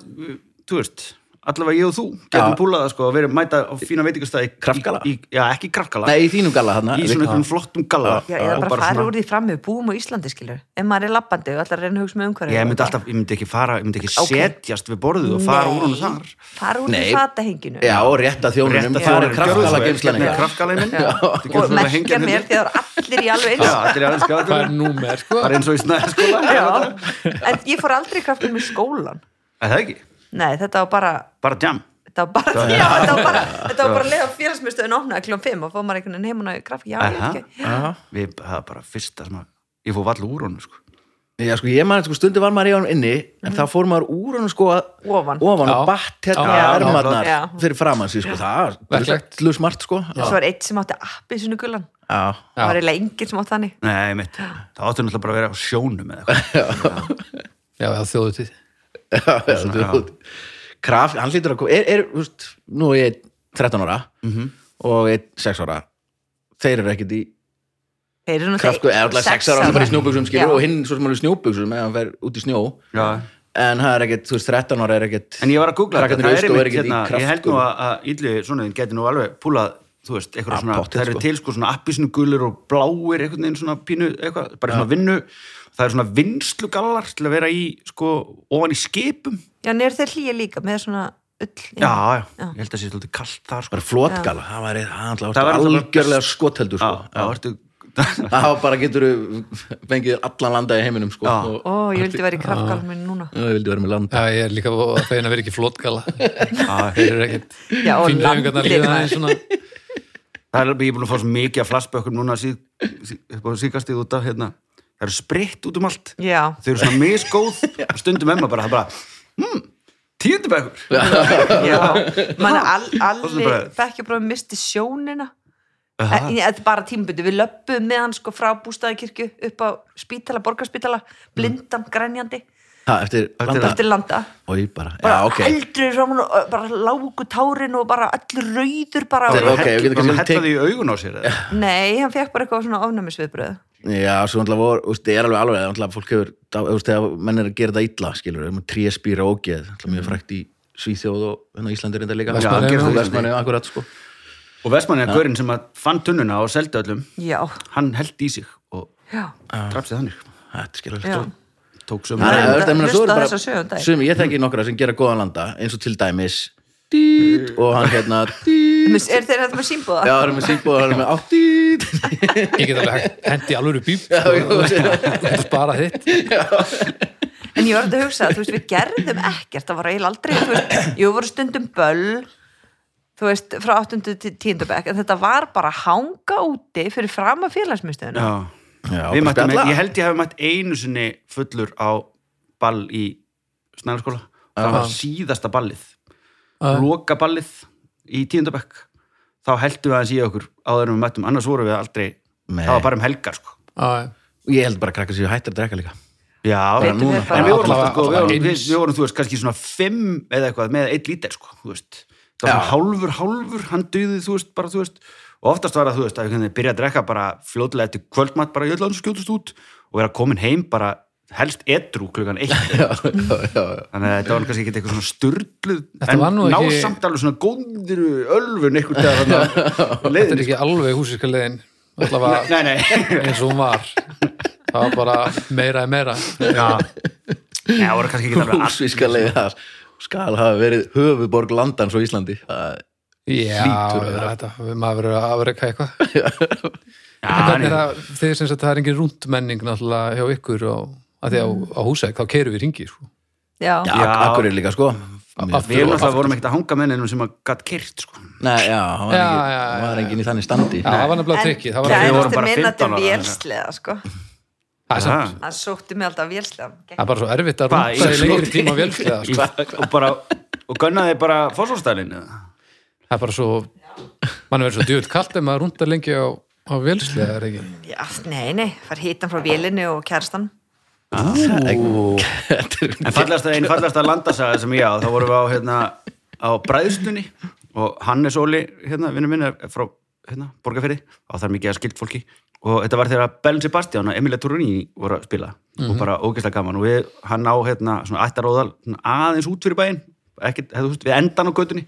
S2: þú veist, allavega ég og þú
S1: Já.
S2: getum púlað það sko, að vera mæta á fína veitingastað í
S1: Kraftgala?
S2: í, já, ekki í krafkala,
S1: Nei, í þínum galla þarna
S2: í svona einhvern flottum gala
S3: Já, eða
S2: Og
S3: bara fara
S2: svona-
S3: úr því fram við búum á Íslandi skilur ef maður er lappandi og allar reyna að hugsa með umhverju
S2: ég myndi alltaf, ég myndi ekki fara, ég myndi ekki
S3: Ok.
S2: setjast við borðið og fara úr honum þar
S3: fara úr
S1: Nei.
S3: því fatahenginu
S1: Já, og rétta þjónunum,
S2: Rétta
S1: það er
S2: þjónunum, gjörðu svo
S1: kraftgala
S2: vel,
S1: geimslan
S2: hérna er
S1: eitthvað
S2: krafkalinn minn. Þetta gjörðu svo
S3: og
S2: vel að hengja
S3: merkja
S2: hann
S3: mér
S2: hérna.
S3: þegar allir í
S2: <laughs>
S3: alveg
S2: Já,
S3: eins
S2: þetta er aðeins
S4: Hvað er
S2: skjáðum
S4: númer, sko?
S2: bara eins og í
S3: <laughs>
S2: snæðaskóla
S3: Já. en ég fór aldrei kraftum í skólan
S2: Það er ekki,
S3: nei, þetta var bara
S2: bara jam
S3: þetta var bara, já, þetta var bara, þetta var bara að leiða félagsmyndstöðin opnaði kljóðum 5 og fóð maður einhvern veginn heimuna í grafík, já, ég
S2: Aha.
S3: veit ekki
S2: Ah. Við, það er bara fyrsta sem að ég fór vall úr honum sko.
S1: Já, sko, ég maður, sko, stundu var maður í honum inni en þá fór maður úr honum, sko, að-
S3: Ofan.
S1: ofan og
S4: Já.
S1: batt hérna
S4: Já,
S1: á
S4: já,
S1: ermarnar
S3: já.
S1: fyrir framann sig, sko, það er
S4: Verklegt.
S1: hlug smart, sko
S3: svo var eitt sem átti appi sinu gullan
S1: Já,
S3: það var eiginlega enginn sem átti þannig
S2: Nei,
S3: <gasps>
S2: mitt, það áttu náttúrulega bara að vera á sjónum eða eitthvað
S4: Já, já, þjóðutíð.
S1: <laughs> Já, já, þú veist, kraft, hann lítur að koma er, er, þú veist, nú er ég 13 ára og ég 6 ára þeir eru ekkert í
S3: þeir eru
S1: krafku, eða alltaf 6 ára hann er bara í snjóbuxum skilur
S3: Já.
S1: og hinn svo sem alveg snjóbuxum eða hann fer út í snjó
S2: Já.
S1: en hann er ekkert, þú veist, 13 ára er ekkert
S2: En ég var að googla þetta,
S1: Krakkarnir í
S2: það er
S1: Austó eru
S2: einmitt
S1: ekkert í
S2: hérna, ég held
S1: kraftgulu.
S2: nú að, að illu svona þeim geti nú alveg púlað þú veist, eitthvað
S1: Ah,
S2: svona,
S1: pottþétt,
S2: það eru
S1: sko.
S2: til sko svona appisinu gulur og bláir einhvern veginn svona pínu, eitthvað, bara svona vinnu það eru svona vinslugallar til að vera í sko, ofan í skipum
S3: já, en eru þeir hlýja líka með svona ull
S2: Já, já,
S3: Já.
S2: ég held að það sé svolítið kallt þar sko.
S1: bara flotgala, það var eitthvað
S2: Það var náttúrulega-
S1: algjörlega skotheldur
S2: Já,
S1: sko.
S2: já, ertu <laughs>
S1: það var bara getur fengið allan landa í heiminum sko,
S2: Já.
S1: og
S3: ó, ég vildi vera í krafkálum minn núna
S1: það vildi vera með landa
S4: Já, ég er líka að feina að vera ekki flotgala.
S2: Já.
S4: Þeir eru ekkert
S3: já, og
S4: fínreifingarnar
S3: landið
S4: líða
S3: maður.
S4: aðeins svona.
S2: Það er alveg, ég er búin að fá svo mikið af flashbökkum núna síð, síð, upp á síkastið út af hérna. Það eru spritt út um allt.
S3: já,
S2: Þau eru svona
S1: <laughs>
S2: misgóð og stundum emma bara, það er bara, hmm, tíundabökkur. <laughs>
S3: já mann, all,
S2: Og svo
S3: allir
S2: bara-
S3: bekkjabróðum misti sjónina
S2: Aha.
S3: En- en Þetta er bara tímbundi, við löppum með hann sko frá bústaðakirkju upp á spítala, borgarspítala, blindan, grænjandi,
S1: Ha, eftir landa,
S3: eftir landa
S1: og ég bara,
S3: bara
S1: já, ok
S3: eldri framan og og bara lágu tárin og bara allir rauður bara
S1: Þetta er
S3: og,
S1: ok. ég
S2: Hellu,
S1: get
S2: bara
S1: ekki
S2: með
S1: séð
S2: hetta
S1: tek-
S2: því í augun á sér. eða?
S3: nei, hann fekk bara eitthvað svona ofnæmisviðbröð
S1: Já, svo náttúrulega voru, þú veist, það er alveg alveg, náttúrulega fólk hefur, þá- þú veist, þegar menn er að gera þetta illa, skilur, það er með tréspýra og ógeð, náttúrulega mjög frækt í Svíþjóð og hérna Íslandi reynda líka.
S4: Vestmannaeyjum.
S1: Já,
S2: Mm. Já.
S1: gerist það Vestmannaeyjum, akkurat, sko.
S2: Og Vestmann er gaurinn sem að fann tunnuna og seldi öllum.
S3: já,
S2: Hann held í sig og
S3: já,
S2: draf sig þannig.
S1: Þetta er skilur,
S3: já
S1: sko.
S2: Tók sömu.
S1: Nei,
S3: er
S1: þú veist,
S3: þetta-
S1: ég meina, svo
S3: hlusta
S1: eru
S3: á
S1: bara
S3: þessa sögu um daginn.
S1: sumir, ég þekki nokkra sem gera góðan landa, eins og til dæmis, dýt, og hann hérna, dýt,
S3: er þeir þetta með símbúða?
S1: Já, það er með símbóð, það er með áttít
S4: Ég get alveg hendi alvöru bíp sko.
S1: Já, já,
S4: og spara þitt
S3: En ég var þetta að hugsa, þú veist, við gerðum ekkert, það var eiginlega aldrei, þú veist, jú voru stundum böll, þú veist, frá 8. til 10. bekk, en þetta var bara að hanga úti fyrir fram að félagsmyndstöðinu.
S2: Já,
S1: Já,
S2: við
S1: bara
S2: mættum,
S1: spjalla.
S2: ég held ég hafi mætt einu sinni fullur á ball í snæðarskóla,
S1: Já.
S2: það var síðasta ballið
S4: Já.
S2: loka ballið í tíundabekk þá heldum við aðeins í okkur áður en við mættum, annars vorum við aldrei
S1: Nei.
S2: það var bara um helgar sko
S4: Já,
S1: Ég held bara að krakka sér hættir að drekka líka
S2: Já,
S3: Veitum
S2: en
S3: við bara-
S2: við vorum alltaf
S4: Allavega-
S2: sko, við
S4: allavega
S2: vorum, við,
S4: eins.
S2: við vorum, þú veist, kannski svona fimm eða eitthvað með eitt lítir, sko, þú veist það var svona hálfur, hálfur, hann duðið, þú veist, bara, þú veist og oftast var það, þú veist, að við kannski byrja að drekka bara fljótlega eftir kvöldmatt, bara jöldlega hans skjótast út og vera komin heim bara helst edru klukkan eitt
S1: <laughs>
S4: <laughs>
S1: Já, já, já, já.
S2: þannig að þetta var kannski ekki eitthvað svona styrluð
S4: Þetta
S2: en
S4: var nú
S2: ná
S4: ekki-
S2: samt alveg svona góndir ölfun einhvern dag
S4: þetta er
S2: leiðin,
S4: ekki alveg húsískalegin allavega
S2: nei, nei
S4: eins og hún var það var bara meira en meira
S2: Já, Nei, það voru kannski ekki alveg allir-
S1: Húsvíska leiði þar skal hafa verið höfuborg landans á Íslandi Það-
S4: Já,
S1: Hlýtur að vera.
S4: þetta, maður verður að afreka eitthvað
S2: Já,
S4: En hvernig er
S2: nei.
S4: það, þeir sem sagt það er engin rúndmenning náttúrulega hjá ykkur og að því á, á húsæk, þá keirum við ringi sko.
S3: Já,
S1: Já,
S2: Já.
S1: akkur er líka sko
S4: Aftur
S2: Við
S4: og
S2: náttúrulega
S4: aftur.
S2: vorum ekkert að hanga með neinum sem að gatt kyrt sko.
S1: Nei, já, hann var,
S4: Já,
S1: engin,
S4: já, já,
S1: var
S4: já.
S1: engin í þannig standi
S4: Já, það var nefnilega
S3: en
S4: trikkið, það var
S2: Við
S4: ekki
S2: vorum
S3: kærasti
S2: bara
S3: minn
S2: 15
S3: átti
S2: ára,
S3: vélsleða, sko.
S4: Það er samt-
S2: Ha,
S3: Hann sótti mig alltaf vélsleða.
S4: það er bara svo erfitt
S2: Hvað,
S4: að rúnda
S2: í
S4: í lengri
S2: slóti?
S4: tíma vélslega
S2: í,
S4: sko.
S2: og bara og gunnaði bara fórsvárstælin
S4: það er bara svo mann verður svo djöld kalt ef maður rúndar lengi á, á vélslega er ekki
S3: Já, nei, nei, fær hitan frá vélinni og kærastan.
S2: en fallast að einn fallast að landasaga sem ég á þá vorum við á, hérna, á bræðstunni og Hannes Óli hérna, vinnu minn er frá hérna, borgarferði og það er mikið að skilt fólki og þetta var þegar Bell Sebastian og Emilia Turini voru að spila og bara ógeðslega gaman og við, hann á hérna, svona ættaróðal svona aðeins út fyrir bæinn ekkert, hefðu, þú veist, við endan á götunni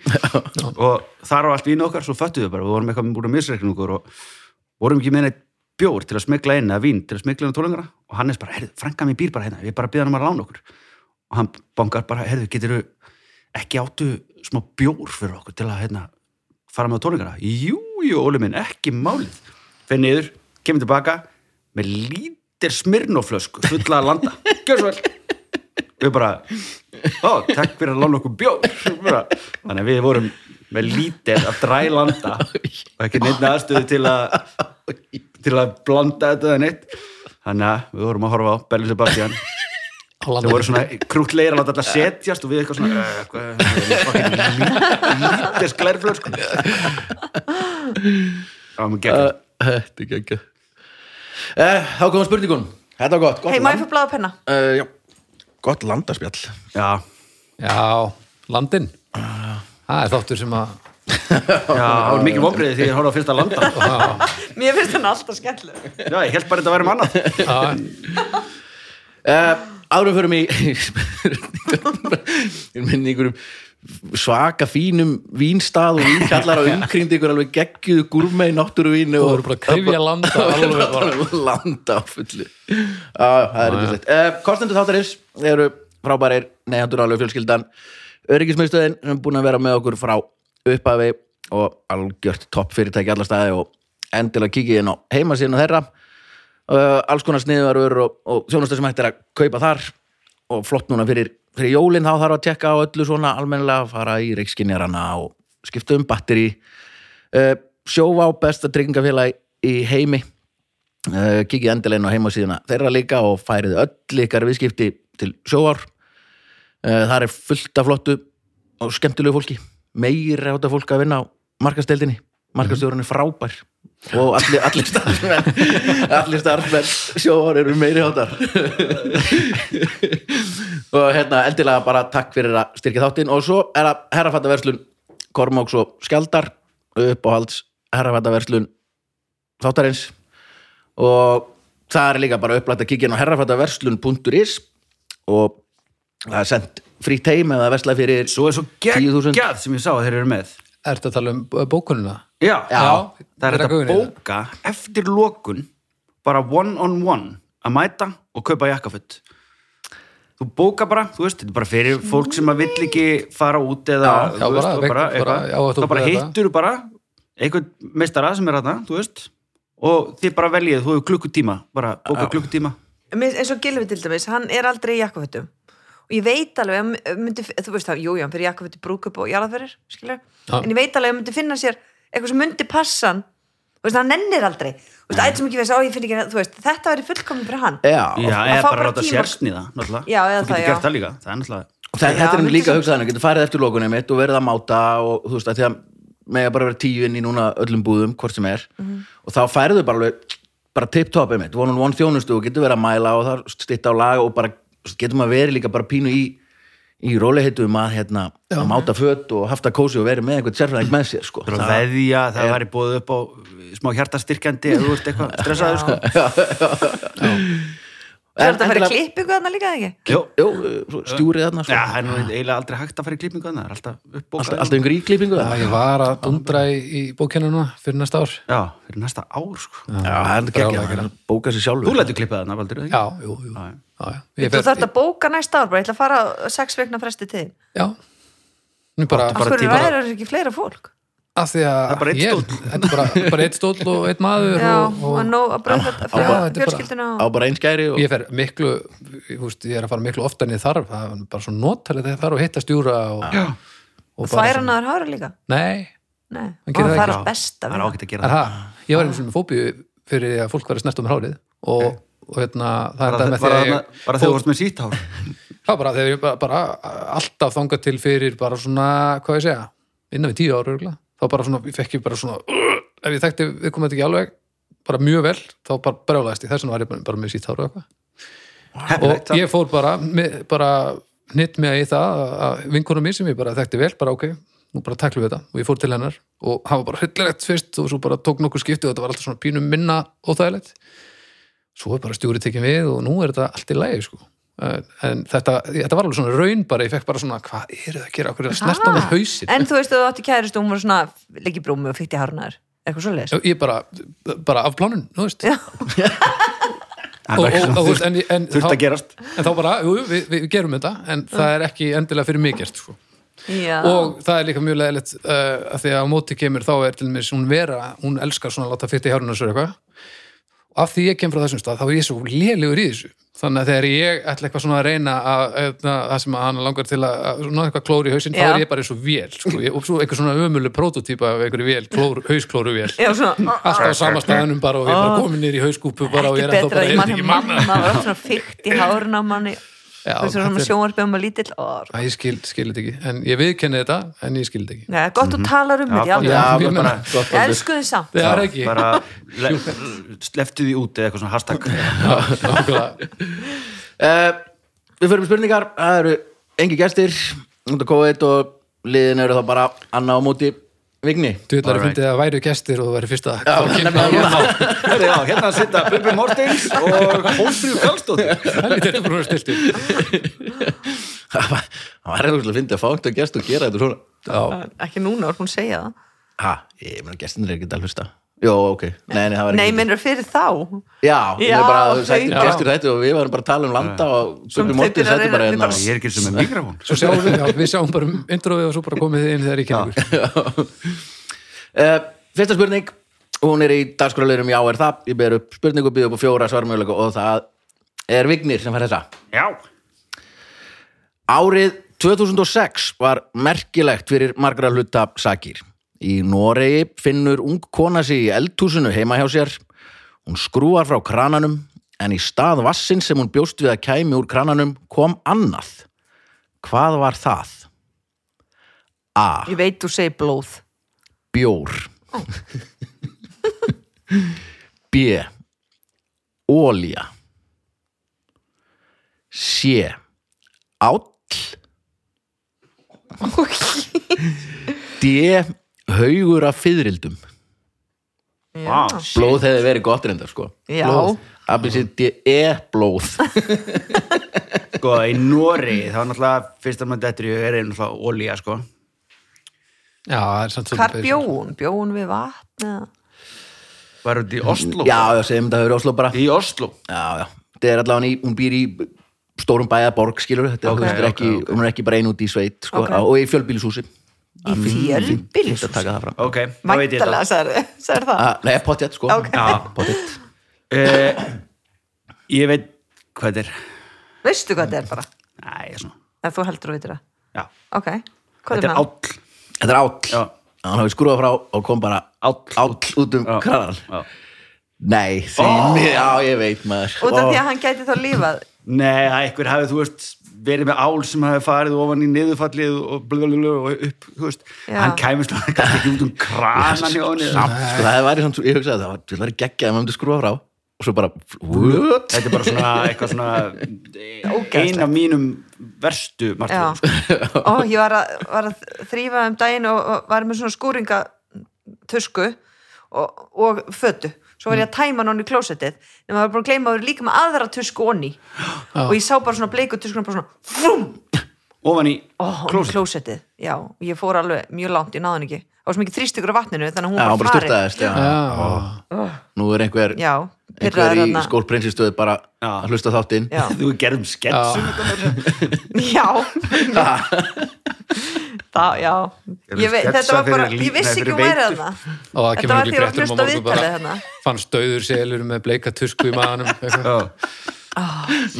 S2: og þar á allt vínu okkar, svo föttuðu við bara við vorum eitthvað búin að misreikna okkur og vorum ekki með neitt bjór til að smegla inn eða vín til að smegla inn á tólengara og Hannes bara, heyrðu, frænka mér býr bara hérna við bara býðum hann um að lána okkur og hann bankar bara, heyrðu, getur ekki áttu smá bjór fyrir okkur til að hérna, fara með tólingara jú, jú, Óli minn, ekki málið fyrir niður, kemur tilbaka með lítir smirnoflösku fulla að landa, gjör svo vel við bara, ó, takk fyrir að lána okkur bjór bara, þannig að við vorum með lítið að drælanda og ekki neitt aðstöðu til að til að blanda þetta eða neitt þannig að við vorum að horfa á Bellin Sebastian
S4: á
S2: þau voru
S4: landinu
S2: svona krútleir að láta alltaf setjast og við eitthvað svona "Eh, hvað- fucking lítið sklerflöð sko það var mjög
S1: Eh.
S2: gegn
S1: Þetta er ekki eh, Þá komum spurningun Þetta var gott, gott,
S3: Hei, má ég fyrir bláða penna?
S1: uh, já, gott landarspjall
S2: já,
S4: já, landin það er þáttur sem að
S2: já, það var mikið vonbreiði þegar ég horfði á fyrsta landa
S3: Mér finnst hann alltaf skemmtileg.
S2: já, ég held bara þetta að vera um annað
S4: Já,
S1: uh, Árum förum í <laughs> Ég minni einhverjum svaka fínum vínstað og
S4: <laughs>
S1: vínkallar og umkringdi ykkur alveg geggjuðu gúrme í náttúruvínu
S4: voru bara að kryfja landa
S1: <laughs>
S4: alveg bara.
S1: landa á fullu Já, já, það er ykkur slitt uh, Kostendur þáttarins eru frábærir neðandurálegu fjölskyldan öryggismiðstöðin sem er búin að vera með okkur frá upphafi og algjört topp fyrirtæki alla staði og endilega kikið inn á heimasíðinu þeirra uh, alls konar sniðvarur og, og þjónustu sem hægt er að kaupa þar og flott núna fyrir, fyrir jólin þá þarf að tekka á öllu svona almennilega fara í reikskinjarana og skipta um batteri uh, sjófa á besta tryggingafélagi í heimi uh, kikið endilegin á heimasíðuna þeirra líka og færið öll ykkar viðskipti til sjóar uh, þar er fullt af flottu og skemmtilegu fólki meira átta fólk að vinna á markasteldinni markastjórun er frábær og allir,
S2: <laughs>
S1: allir starfsmenn allir starfsmenn sjóar eru meiri áttar og hérna endilega bara takk fyrir að styrkja þáttinn og svo er að herrafattaverslun Kormáks og Skjaldar uppáhalds herrafattaverslun þáttarins og það er líka bara upplætt að kíkja inn á herrafattaverslun.is og það er sendt frítt heim eða versla fyrir
S2: svo er svo
S1: 10.000.
S2: geggjað sem ég sá að þeir eru með
S4: ertu að tala um bókunina
S2: já,
S1: Já,
S2: það er þetta
S4: þeir taka
S2: að
S4: augun í það.
S2: bóka eftir lokun bara one on one að mæta og kaupa jakkaföld þú bóka bara, þú veist, þetta er bara fyrir fólk sem að vill ekki fara út eða,
S4: Já, já,
S2: þú
S4: bara,
S2: og bara,
S4: vegna- bara,
S2: eitthvað,
S4: já, að þú
S2: þá bara
S4: byrjar þetta.
S2: hittur bara einhvern meistara sem er þarna, þú veist og þið bara veljið, þú hefur klukkutíma bara bóka klukkutíma
S3: Mér- eins og Gilvi til dæmis, hann er aldrei í jakkafötum og ég veit alveg að hann myndi, þú veist það, jú, jú, hann fyrir jakkafötu brúkup og jarðaferir, skilur,
S4: Já.
S3: en ég veit alveg að hann myndi finna sér eitthvað sem myndi passa hann þú veist, hann nennir aldrei, þú veist, ætlum ekki veist, á, ég finn ekki, þú veist, þetta væri fullkomin fyrir hann
S1: Já,
S2: já,
S3: að
S2: eða
S3: fá
S2: bara
S3: bara
S2: ráta
S3: tíma.
S2: sérsnýða náttúrulega,
S3: Já, eða
S2: þú getur
S3: það, já.
S2: gert það líka það er náttúrulega,
S1: Og það,
S3: Já,
S1: þetta er
S3: myndi
S1: nú líka
S3: sem-
S1: að hugsa þannig, getur farið eftir lokunum mitt og verið að máta og þú veist að því að mega bara vera tíu inn í núna öllum búðum, hvort sem er
S4: Mhm.
S1: og þá færðu bara alveg bara tip-topið mitt, one on one þjónustu og getur verið að mæla og það stitta á laga og bara getur maður verið líka bara pínu í í róleihitum að hérna að máta fött og hafta kósi og verið með einhvern sérfræðing með sér sko.
S2: þú er að veðja það væri búið upp á smá hjartastyrkjandi eða þú ert
S3: <laughs>
S2: eitthvað stressaður sko
S3: er þetta að fara í klippingu þarna líka eða ekki?
S2: Jó.
S1: Jú, svo stjúrið þarna sko.
S2: Já, það er nú eiginlega aldrei hægt að fara í klippingu þannig, það er alltaf uppbókað.
S1: alltaf, alltaf einhver íklipingu
S4: Já,
S1: það
S4: ég var að dundra í, í bókina núna fyrir næsta ár.
S2: Já, fyrir næsta ár, sko.
S1: Já, það er þetta
S4: Brálega
S1: gekkja, bóka sér sjálfur
S2: Þú lætur klippið þarna, Valdur, eða ekki?
S4: Já, jú, jú. Já, já. Ég
S3: Þú
S4: fer-
S3: þarf að bóka næsta ár bara, ég ætla að fara á sex vegna fresti til þín.
S4: Já. Nú bara,
S3: Af hverju
S2: tíma-
S3: ræður þessu ekki fleira fólk?
S4: af því að
S2: er bara einn
S4: ég-
S2: stóll.
S4: þetta er bara, bara eitt stóll og eitt maður
S3: Já,
S4: og,
S3: og
S4: og
S3: nóg að bröða
S4: Já, þetta er bara-
S3: fjölskylduna
S1: á
S3: og...
S1: bara einskæri og...
S4: ég fer miklu ég, veist, ég er að fara miklu oftar en ég þarf það er bara svo notalið þegar ég þarf og hitta stjúra og, og
S3: og færa hann að það hára líka.
S4: nei,
S3: Nei,
S4: Hann
S3: og
S4: gerir
S3: það er
S4: það ekki.
S3: allt best að
S2: Það er ágætt að gera
S4: er
S2: það.
S4: það ég var einhvers veginn með fóbíu fyrir því að fólk var að snert um hárið og, og hérna, það
S2: Var
S4: er það
S2: það
S4: með því að ég
S2: þegar þú vorst með sítt hár?
S4: það bara þegar ég bara, bara alltaf þangað til fyrir bara svona, hvað ég segja innan við tíu ára örgulega, þá bara svona ég fekk ég bara svona, ef ég þekkti við komum þetta ekki alveg, bara mjög vel þá bara brjálæðist ég, þess vegna var ég bara, bara með sítt hár og eitthvað og ég fór bara, með, bara hnitt með í það að vinkunum mín sem ég bara þekkti vel, bara ok, nú bara taklum við þetta og ég fór til hennar og hafa bara hryllilegt fyrst og svo bara tók nokkuð skipti og þetta var alltaf svona pínum minna óþægilegt svo er bara stjúri tekin við og nú er þetta allt í lægi sko Eh, en þetta, þetta var alveg svona raun bara, ég fekk bara svona hvað eru það að gera, okkur er að snerta með hausin
S3: Ah, En þú veist að þú átti kærist og hún var svona leggji brúmi og fyrti hárnaður, eitthvað svo leiðis
S4: ég bara, bara af plánun, þú veist
S3: Já.
S4: og, og, og, og, en, en,
S2: Þurft að gerast.
S4: en þá bara, jú, jú, við, við gerum þetta
S3: Mm.
S4: en það er ekki endilega fyrir mig gert sko.
S3: Já,
S4: og það er líka mjög leðilegt uh, að því að á móti kemur þá er til mér hún vera, hún elskar svona að láta fytta í hárinu og eitthvað og af því ég kem frá þessum stað þá er ég svo lélegur í þessu þannig að þegar ég ætla eitthvað svona að reyna að, að, það sem að hann langar til að, að ná eitthvað klóri í hausinn, þá
S3: Já.
S4: er ég bara eins og vél sko, ég, og svo eitthvað svona ömulu prototýpa af einhverju vél, klór, hausklóru vél
S3: já svona
S4: alltaf á sama staðanum bara og ég bara komin nýr í hauskúpu bara og ég
S3: ekki
S4: er alltaf
S3: betra
S4: bara,
S3: að
S4: er
S3: ég mann hefði
S4: þetta ekki manna
S3: mamma var oft svona fyrti hárna manni
S4: Já,
S3: þú veist svona
S4: þetta er-
S3: sjónvarpið um að lítill Ó,
S4: Æ, ég skil, skil þetta ekki, en ég viðkenni þetta en ég skil þetta ekki
S3: Nei, gott þú talar um þetta,
S4: Já,
S3: já,
S1: Já,
S4: ég
S1: bara,
S4: meina-
S1: gott,
S3: já Elsku þið samt
S4: það er ekki
S2: Bara le- sleftu því út eða eitthvað svona hashtag.
S4: Nákvæmlega.
S1: Uh, við fyrir með spurningar, það eru engi gestir út af COVID og liðin eru þá bara Anna á móti Vigni <laughs>
S4: Þú ætlar að
S2: Alright.
S4: fyndið að væri gestir og þú væri fyrsta Já,
S2: Herri, já, Hérna sita Bubi Mortens og Hólfríður Karlsdóttir.
S4: Þetta er bara stilti
S1: Það var- það var eitthvað að finna að fá einhvern gest og gera þetta svona
S4: Já,
S3: Ekki núna, orðum hún segja það
S1: Ha, ég meina gestinir er ekki að hlusta Jó, ok, nei, nei, það var
S3: Nei,
S1: ekki
S3: minnur fyrir þá
S1: Já, ég er
S3: Já,
S1: bara,
S3: þau-
S1: sættir gestir þetta og við varum bara að tala um landa og Bubbi
S3: Sem
S1: Mortens
S3: þeir eru að
S1: sætti bara
S3: reyna-
S1: hérna
S3: við
S2: Ég er ekki sem er mikrofón.
S4: svo sjáum við, já, við sjáum bara um introið og svo bara komið þið inn þegar ég kynningur
S1: uh, Fyrsta spurning, hún er í dagskrálaurum Já er það, ég ber upp spurningu, býð upp á fjóra svarmjögulega og það er Vignir sem fær þessa
S2: Já.
S1: Árið 2006 var merkilegt fyrir margra hluta sakir. Í Noregi finnur ung kona sig í eldhúsinu heima hjá sér. Hún skrúar frá krananum en í stað vassin sem hún bjóst við að kæmi úr krananum kom annað. Hvað var það? A.
S3: Ég veit þú segir blóð
S1: Bjór. B. Ólja. C. Áll. D. Haugur af fyririldum
S2: Vá.
S1: Blóð hefði verið gott reyndar sko
S3: Já.
S1: Blóð Abyssin D. E. Blóð
S2: Sko, í Nóri, þá náttúrulega fyrst að maður dettur í hug er náttúrulega olía, sko.
S4: Já, það er samt
S3: Hvar
S4: svolítið
S3: bjóun? Bjóun við vatn? eða?
S2: Var þetta í Oslo?
S1: Já, já, segjum þetta hefur Oslo bara
S2: Í Oslo.
S1: Já, já, þetta er allavega hann í, hún býr í stórum bæða borg skilur þetta
S2: Ok,
S1: okay, er
S2: ok,
S1: ekki,
S2: ok.
S1: hún er ekki bara ein út í sveit sko,
S3: Ok.
S1: á- og í fjölbýlishúsi
S3: Í fjölbýlishúsi?
S1: Fínt að taka það fram
S2: ok, þá veit ég
S3: Væntalega,
S2: þetta
S3: sagði það
S1: Ah, Nei, pottet sko
S3: Ok.
S2: Já.
S1: Pottet.
S2: uh, ég veit hvað þetta er
S3: Veistu hvað þetta er bara?
S2: Æ, ég er svona
S3: Ef þú heldur að veitir það
S2: Já.
S3: Ok, hvað um
S2: þetta
S3: er
S2: er
S3: með?
S2: áll
S1: Þetta er áll
S2: Já.
S1: Hann hafi skrúfað frá og kom bara
S2: Áll.
S1: út um
S2: Já.
S1: kranan
S2: Já.
S1: Nei, því, já ég veit maður
S3: Út af því að hann gæti þá lífað
S2: Nei, að einhver hafi, þú veist, verið með ál sem hafi farið ofan í niðurfallið og blöðlöðlöð og upp, þú veist
S3: Já.
S2: hann kæmist og <laughs> kannski ekki út um kranan í honum.
S1: Samt, sko, það væri samt, ég hugsaði það Það væri geggjað að maður myndi skrúfa frá og svo bara, what?
S2: Þetta er bara svona eitthvað
S3: <laughs>
S2: svona ein af mínum verstu <laughs>
S3: Já,
S2: martröðum.
S3: og ég var að, var að þrýfa um daginn og, og var með svona skúringatusku og, og fötu svo var ég að tæma hann í klósettið en maður var búin að gleyma að vera líka með aðra tusku onni og ég sá bara svona bleiku tuskuna bara svona, frum,
S2: Ofan í
S3: oh, klósettið.
S2: klósett.
S3: klósettið já, og ég fór alveg mjög langt, ég náði hann ekki það var svo mikið þrýstykur á vatninu þannig að hún
S1: Já,
S3: var
S1: bara
S3: bara farin
S1: styrtaðist já.
S4: Já.
S1: Nú er einhver,
S3: já,
S1: einhver
S3: pirraður
S1: í
S3: þarna.
S1: skólprinsistöðu bara
S2: Já.
S1: að hlusta þáttinn
S3: já,
S2: Þú gerðum um sketsum.
S4: <laughs>
S3: Já Það, já Ég veit, þetta var bara, ég vissi ekki hún væri þarna
S4: og það
S3: Þetta
S4: kemur
S3: var
S4: ekki
S3: því að
S4: fréttum á
S3: hlusta
S4: morgun
S3: viðtalið hérna.
S4: bara
S3: þarna
S4: fannst döður selur með bleika tusku í
S3: <laughs>
S4: maðanum eitthvað.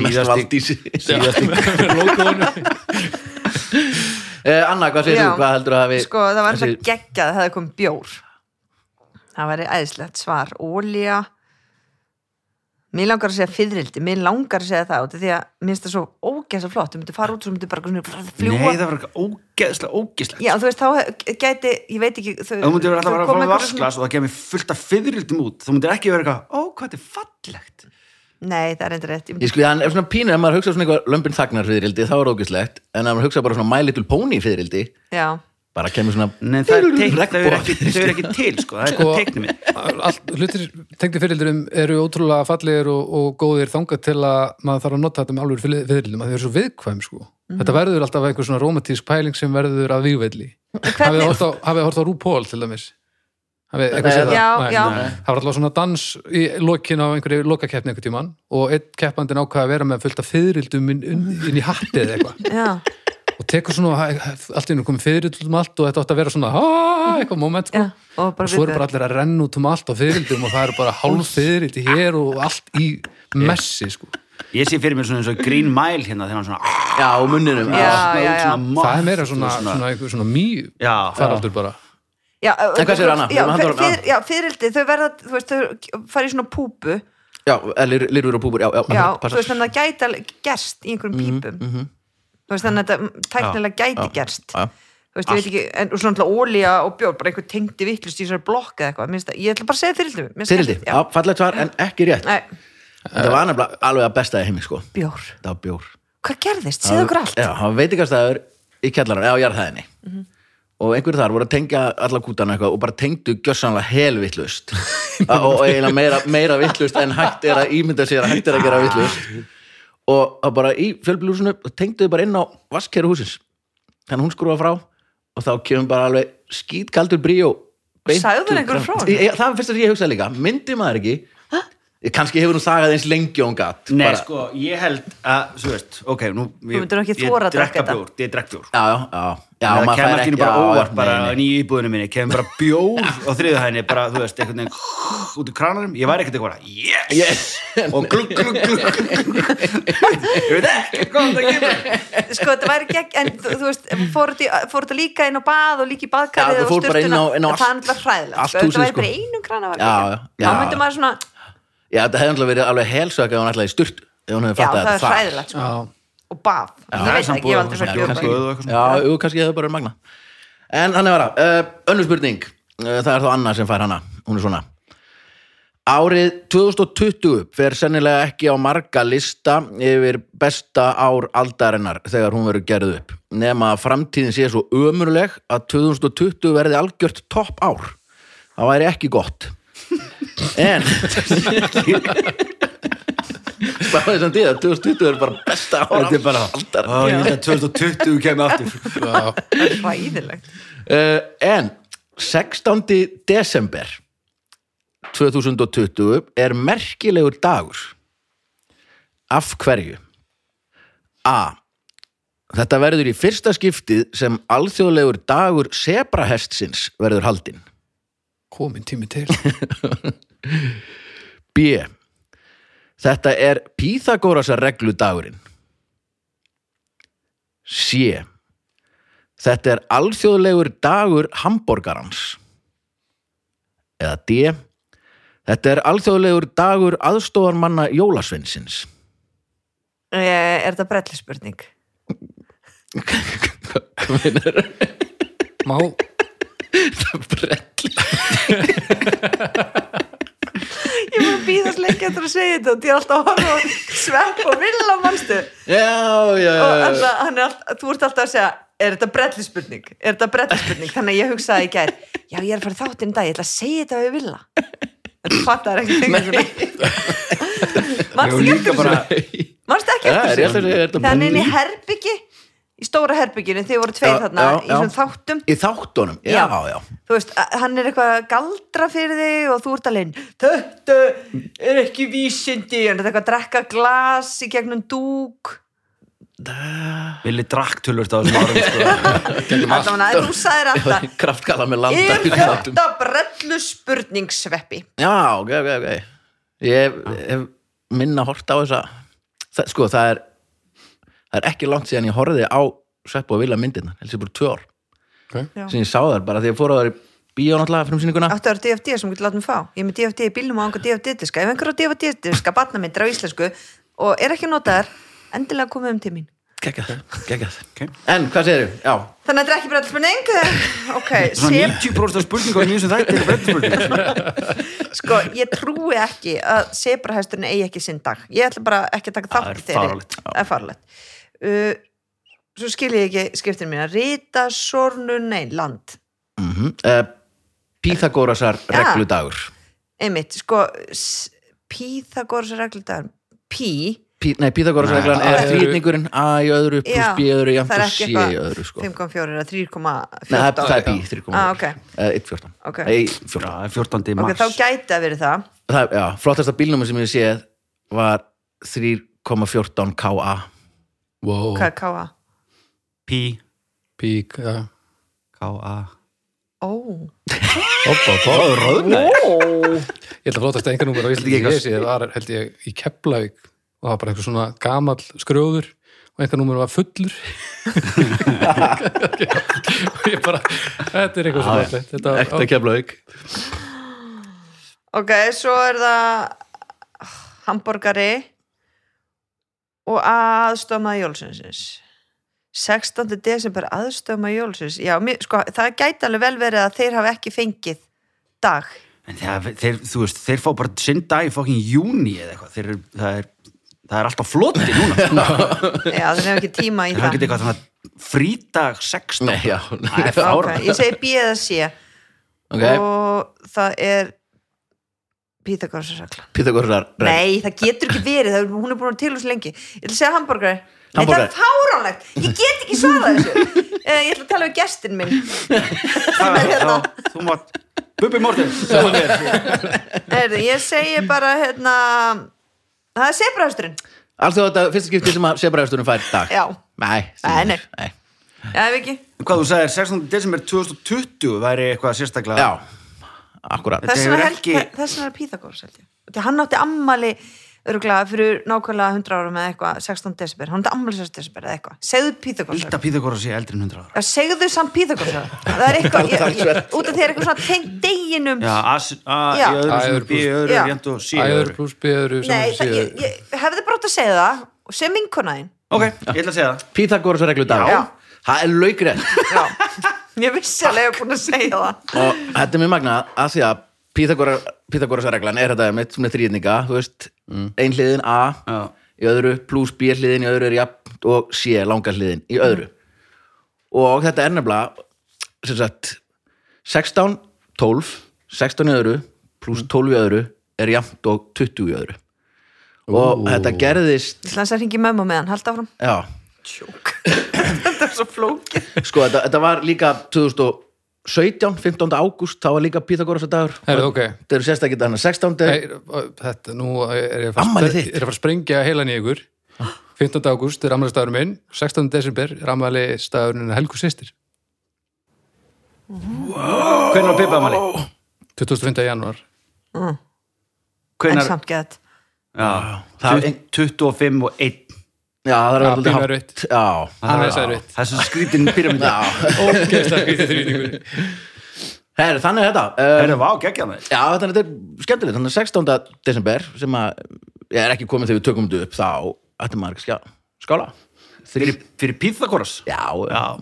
S1: Mest valdísi <laughs>
S4: Logoinu.
S1: Eh, Anna, hvað segir
S3: Já.
S1: þú? Hvað heldur að hafi
S3: Sko, það var
S1: þessi-
S3: alltaf geggjað að það hefði komið bjór Það væri æðislegt svar Ólía Mér langar að segja fyririldi, mér langar að segja það út af því að mér finnst það svo ógæsa flott þú myndir fara út svo myndir bara svona
S2: Nei,
S3: fljúa
S2: það var eitthvað ógeðslega, ógeðslega.
S3: Já, þú veist, þá gæti, ég veit ekki þau-
S2: Þú myndir vera alltaf
S3: þau
S2: að
S3: koma
S2: fara að
S3: einhverju svona-
S2: vasklas og það kemur fullt af fyririldum út. Þú myndir ekki vera eitthvað, ó, hvað þetta er fallegt.
S3: Nei, það er endur rétt Ég
S1: Ég skilja, hann er svona pínu, ef maður hugsa svona eitthvað lömbin þagnar fyririldi, þá er ógislegt en ef maður hugsa bara svona My Little Pony fyririldi
S3: Já,
S1: bara kemur svona
S2: Nei, það er teikn, þau eru
S1: Regnboga
S2: ekki, þau eru ekki til, sko. Það er
S4: Sko,
S2: sko, teiknum minn.
S4: allt, hlutir tengdi fyrirldurum eru ótrúlega fallegir og, og góðir þangað til að maður þarf að nota þetta með alveg fyrirldurum að þau eru svo viðkvæm sko
S3: Mhm.
S4: þetta verður alltaf einhver svona romantísk pæling sem verður að vígvelli hafið
S3: hvernig-
S4: hort á, hafið hort á RuPaul til dæmis hafið eitthvað séð það
S3: Já, já.
S4: það var alltaf svona dans í lokin á einhverju lokakeppni einhvern tímann og einn keppandinn ákvað að vera með fullt af fyrirldum inn, inn, inn í hattið eða eitthvað
S3: já
S4: og tekur svona, allt í hennu komið fyrirldum allt og þetta átt að vera svona "Ah", eitthvað moment sko
S3: Já, og bara
S4: og svo eru
S3: viðbjóður.
S4: bara allir að renna út um allt á fyririldum og það eru bara hálf fyririldi hér og allt í messi sko.
S2: Ég sé fyrir mér svona eins og Green Mile hérna þegar hann svona
S1: Já, á munninum
S3: Já,
S1: En
S2: svona
S3: já,
S2: út
S3: já.
S2: svona moth
S4: það er meira
S2: og
S4: svona, svona, svona, einhver svona mýr
S2: Já,
S4: faraldur bara
S3: Já, en
S1: hvað segir Anna?
S3: Já,
S1: Við erum að halda
S3: fyr,
S1: áfram, já.
S3: fyr, já fyririldi, þau verða, þú veist, þau fara í svona púpu
S1: Já, eða lirfur og púpur, já, já,
S3: Já, þú
S1: passa
S3: veist, þannig að það gæti alveg gerst í einhverjum pípum Þú veist, þannig að þetta mm, tæknilega gæti gerst
S1: Mhm, já.
S3: Þú veist, ég veit ekki, en og svona alltaf ólía og bjór, bara einhver tengdi vittlust í þessari blokk eða eitthvað, minnst það, ég ætla bara að segja fyririldi mér finnst
S1: Fyririldi,
S3: skemmtilegt,
S1: já, fallegt svar en ekki rétt
S3: Nei,
S1: Þetta var nefnilega alveg að besta í heimi, sko
S3: bjór,
S1: Það var bjór
S3: hvað gerðist, segðu okkur allt
S1: Já, hann veit ekki að staður í kjallarann eða á jarðhæðinni og einhverju þar voru að tengja alla kútana eitthvað og bara tengdu gjössanlega
S3: <laughs>
S1: helvittlust og eiginlega meira, meira vittlust en hægt er að ímynda sér að hægt er að gera vittlust og þá bara í fjölbílúsinu tengduðu bara inn á vaskeru húsins þannig að hún skrúfa frá og þá kemur bara alveg skítkaldur bríó beint
S3: Sagði þér
S1: úr
S3: einhverju
S1: kraft.
S3: frá henni?
S1: Ég- Það var fyrst að ég hugsaði líka, myndi maður ekki kannski hefur hún sagði eins lengi og hún gatt
S2: Nei,
S1: bara,
S2: sko, ég held að, þú veist, ok, nú Þú
S3: myndir nú ekki þora að drekka þetta.
S2: bjór, ég drekka bjór sko.
S1: Já, já, já, já
S2: Það
S1: maður fær
S2: kemur ekki nú bara
S1: já, já,
S2: óvart bara
S1: nei, nei.
S2: í <laughs> íbúðinu minni kemur bara bjór á þriðu hæðinni bara, þú veist, einhvern veginn <laughs> út í kranarum ég væri ekkert eitthvað bara, yes, og glugg, glugg, glugg, glugg, glugg ég veit ekki hvað það kemur
S3: <laughs> Sko, þetta væri gegn, en þú, þú veist, fór þetta í- fór þetta líka inn á bað og líka í baðkarið
S1: Já, það
S3: og
S1: fór bara inn á-
S3: sturtuna,
S1: inn á
S3: það er
S1: allt- allt
S3: náttúrulega hræðilegt, sko, þetta
S1: húsið,
S3: væri
S1: sko.
S3: bara í einum krana
S1: Já, já,
S3: Þá
S1: já.
S3: myndi maður svona,
S1: Já, þetta hefði alltaf verið alveg helsöka ef hún ætlaði í sturt ef hún hefði
S3: já,
S1: fattað
S3: það er
S1: þetta þar.
S3: hræðilegt, sko
S4: já.
S3: og baf, ég veit ekki, ég hef aldrei
S1: Já,
S3: fyrir
S2: bjór
S1: kannski-
S3: bjór
S2: og eitthvað svona.
S1: Já, jú, kannski hefði bara verið magna En þannig var það, uh, önnur spurning uh, það er þá Anna sem fær hana, hún er svona Árið 2020 fer sennilega ekki á marga lista yfir besta ár aldarinnar þegar hún verður gerð upp nema að framtíðin sé svo ömurleg að 2020 verði algjört topp ár það væri ekki gott <laughs> en spáðið samt í það 2020 er bara besta ár
S2: þetta er bara,
S1: aldarinnar
S2: ó, ég veit að 2020 kemur aftur
S3: það er hræðilegt
S1: Uh, en 16. desember 2020 er merkilegur dagur af hverju A. Þetta verður í fyrsta skiptið sem alþjóðlegur dagur sebrahestsins verður haldinn.
S4: komin tími til
S1: B. Þetta er Píþagórasa regludagurinn. C. Þetta er alþjóðlegur dagur hamborgarans. Eða D. Þetta er alþjóðlegur dagur aðstofarmanna jólasveinsins.
S3: Eh, Er þetta brellispurning?
S4: má,
S1: Brelli.
S3: <laughs> Ég var að býðast lengi eftir að segja þetta og ég er alltaf að horfa á svepp og villa mannstu
S1: <laughs> Já, já,
S3: og
S1: já, já.
S3: alla, hann er alltaf, þú ert alltaf að segja er þetta brellispurning, er þetta brellispurning þannig að ég hugsaði í gær, já ég er að fara í þáttinn í dag, ég ætla að segja þetta við villa en þú fattar ekki <laughs> mannstu ekki eftir þessu mannstu ekki
S1: Já, er ég alltaf að
S3: eftir þessu
S1: segja, er þetta
S3: þannig inn í
S1: brelli?
S3: herbyggi í stóra herbygginu, þið voru tveir
S1: Já,
S3: þarna
S1: já,
S3: í
S1: já.
S3: svona þáttum
S1: Í þáttunum, já,
S3: Já.
S1: já.
S3: þú veist, a- hann er eitthvað að galdra fyrir þig og þú ert alveg þetta er ekki vísindi hann er eitthvað að drekka glas í gegnum dúk
S2: Vili drakk tölvöld á þessum árum sko.
S3: alltaf hann að þú sagðir
S1: <laughs>
S3: alltaf
S1: Kraftkalla með landa
S3: er
S1: í þáttum.
S3: þetta brellu spurningsveppi
S1: Já, ok, ok, ok Ég hef minna hort á þessa það, Sko, það er það er ekki langt síðan ég horfði á Svepp og Vila myndirna, helst ég bara tvö ár
S3: Já.
S1: sem ég sá þar, bara því ég fór á þar í bíó náttúrulega frumsýninguna
S3: áttu að vera DFD sem getur látið mig fá ég er með DFD í bílnum og ánga DFD-diska ef einhver á DFD-diska, batnamyndir á íslensku og er ekki notaðar, endilega komið um til mín
S1: Gekkað, gekkað
S2: Ok.
S1: En, hvað segirðu? Já,
S3: þannig að þetta er ekki brellu spurning ok,
S2: Svona
S3: sem
S2: 90% spurninga í mjög sem þætti er breytspurning
S3: Sko, ég trúi ekki að sebrahesturinn eigi ekki sinn dag. Ég ætla bara ekki að taka
S2: Það
S3: þátt
S2: er
S3: í þeirri.
S2: fáránlegt.
S3: Það er farlegt. Uh, svo skil ég ekki skiptir mína. Rita, sornu, nein, land.
S1: mhm uh, Píþagórasar
S3: Já.
S1: regludagur
S3: Einmitt, sko, s- Pythagoras regludagur. Pí,
S1: Pí, Nei, Píþagórasar reglan
S4: Nei,
S1: er
S4: það eru-
S1: þrýtningurinn A í öðru,
S3: Já,
S1: pluss B í öðru,
S3: það er
S1: jæmt og
S3: ekki
S1: C
S3: eitthvað
S1: í öðru sko. Nei,
S3: 5,4 eða 3,14.
S1: það, er- það er Bí, 3,4
S3: Ah, ok.
S1: Eh, 1,14
S3: Ok.
S1: Nei, 14
S2: Já, 14.
S3: Ok,
S2: mars
S3: þá gæti að verið það.
S1: það, já, flottasta bílnúmer sem ég séð var 3,14 KA
S4: wow,
S3: Hvað er káa?
S2: P,
S4: pík ja.
S2: K, A
S3: Ó,
S4: Oppa, oppa.
S2: Röðnaði
S4: ég held að flottast einhver númer á Íslandi
S2: Þetta er
S4: ég sé, var held ég í Keflavík og það var bara eitthvað svona gamall skrjóður og einhver númer var fullur <laughs> og ég bara þetta er eitthvað svona fallegt. þetta var
S1: keflaug
S3: ok, svo er það hambúrgari og aðstöðmaði jólsins 16. desember aðstöðmaði jólsins já, mér, sko, það gæti alveg vel verið að þeir hafa ekki fengið dag
S2: En það, þeir, þú veist, þeir fá bara sinn dag í fokkin júni eða eitthvað þeir, eru- það, er, það er alltaf floti núna <laughs>
S3: já, þeir hafa ekki tíma í
S2: það
S3: það
S2: geti eitthvað svona frídag 16
S1: Nei, já, <laughs>
S2: Það er
S3: ok,
S2: fára
S3: ég segi B eða C
S1: ok,
S3: og það er Pythagoras-reglan
S1: Pythagoras regl
S3: Nei, það getur ekki verið, það, er- hún er búin að til úr svo lengi Ég ætla að segja hambúrgari Nei, það
S1: Hamborgari.
S3: er fáránlegt, ég get ekki svarað þessu
S2: <laughs>
S3: Eh, Ég ætla að tala við gestin minn hérna.
S2: Þú mátt Bubi Morten
S3: Heyrðu, Ég segi bara, hérna Það er sebrahesturinn
S1: Allt því þetta fyrsta skipti sem að sebraðurstunum fær dag
S3: Já.
S1: Nei,
S3: Nei, nei.
S1: nei.
S3: Já, ef ekki
S2: Hvað þú sagðir, 16. desember 2020 væri eitthvað sérstaklega
S1: Já, akkurat
S2: Þetta
S3: Þess
S2: hefur
S3: vegna held-
S2: ekki-
S3: þess vegna er Píþagórs held ég. Þegar hann átti ammali örgulega fyrir nákvæmlega 100 árum eða eitthvað 16 desember, hann átti ammali 16 desember eða eitthvað Segðu Píþagórs
S2: Ílda Píþagóra sé eldri en 100 ára
S3: Já, segðu samt Píþagórs Það er
S2: <laughs>
S3: eitthvað, ég, ég, út af því er eitthvað svona tengt deginum
S2: Já, A, s- A
S3: Já.
S2: í öðru,
S4: A í
S2: sem
S4: öðru
S2: er B í
S4: plús-
S2: öðru,
S3: Já.
S2: jæmt og C í
S4: æður
S2: öðru
S4: pluss beður
S3: Nei, það, ég, ég hefði bara átt að segja það og sem vinkonaðin
S2: Ok, ég ætla að segja það
S1: Pythagoras reglu
S3: Já.
S1: dag Það er laugrætt
S3: <laughs> Ég vissi alveg að ég hef búin að segja það
S1: og þetta er mjög magnað að því að Pythagoras, Pythagoras reglan er þetta mitt svona þrýðninga, þú veist ein hliðin A
S2: Já.
S1: í öðru pluss B hliðin í öðru er jafn og C langa hliðin í öðru og þetta er nefnilega sem sagt 16, 12 16 í öðru pluss 12 í öðru er jafnt og 20 í öðru og þetta gerðist
S3: Ég ætla hans að ringi mömmu með hann, halda áfram
S1: já,
S3: Tjók <laughs> Þetta er svo flókið
S1: sko þetta, þetta var líka 2017, 15. ágúst þá var líka Pythagoras dagur
S4: Heyrðu, ok.
S1: þetta eru sérstaklega þannig að 16.
S4: Nei, þetta, nú er ég að fara,
S1: Afmælið
S4: er
S1: þitt.
S2: Ah.
S4: ég að, fara að sprengja heilan í ykkur 15. ágúst er ammælistafurinn minn 16. desember er ammælistafurinn Helgu sýstir
S2: Hvernig var Bibba Amali?
S4: 25. janúar
S3: en
S2: Hvernig,
S3: samt gett
S2: já,
S1: Það-
S2: 20 25 og 1
S1: Já, það er
S4: Já,
S1: alveg
S4: pínu
S1: hátt.
S4: erfitt.
S1: Já,
S2: Ah.
S4: Hann er sæður
S2: Það er svo skrítin pyramída
S1: já.
S4: Ógeðslega skrítið þrýningur
S1: Her, þannig er þetta.
S2: Það
S1: Um,
S2: er vá geggja með
S1: já, þetta er, þetta er skemmtilegt. Þannig að 16. desember sem að ég er ekki komið þegar við tökum þetta upp þá ætti maður ekki skjá, skála. Þrý,
S2: Fyrir, fyrir Píþagoras
S1: já,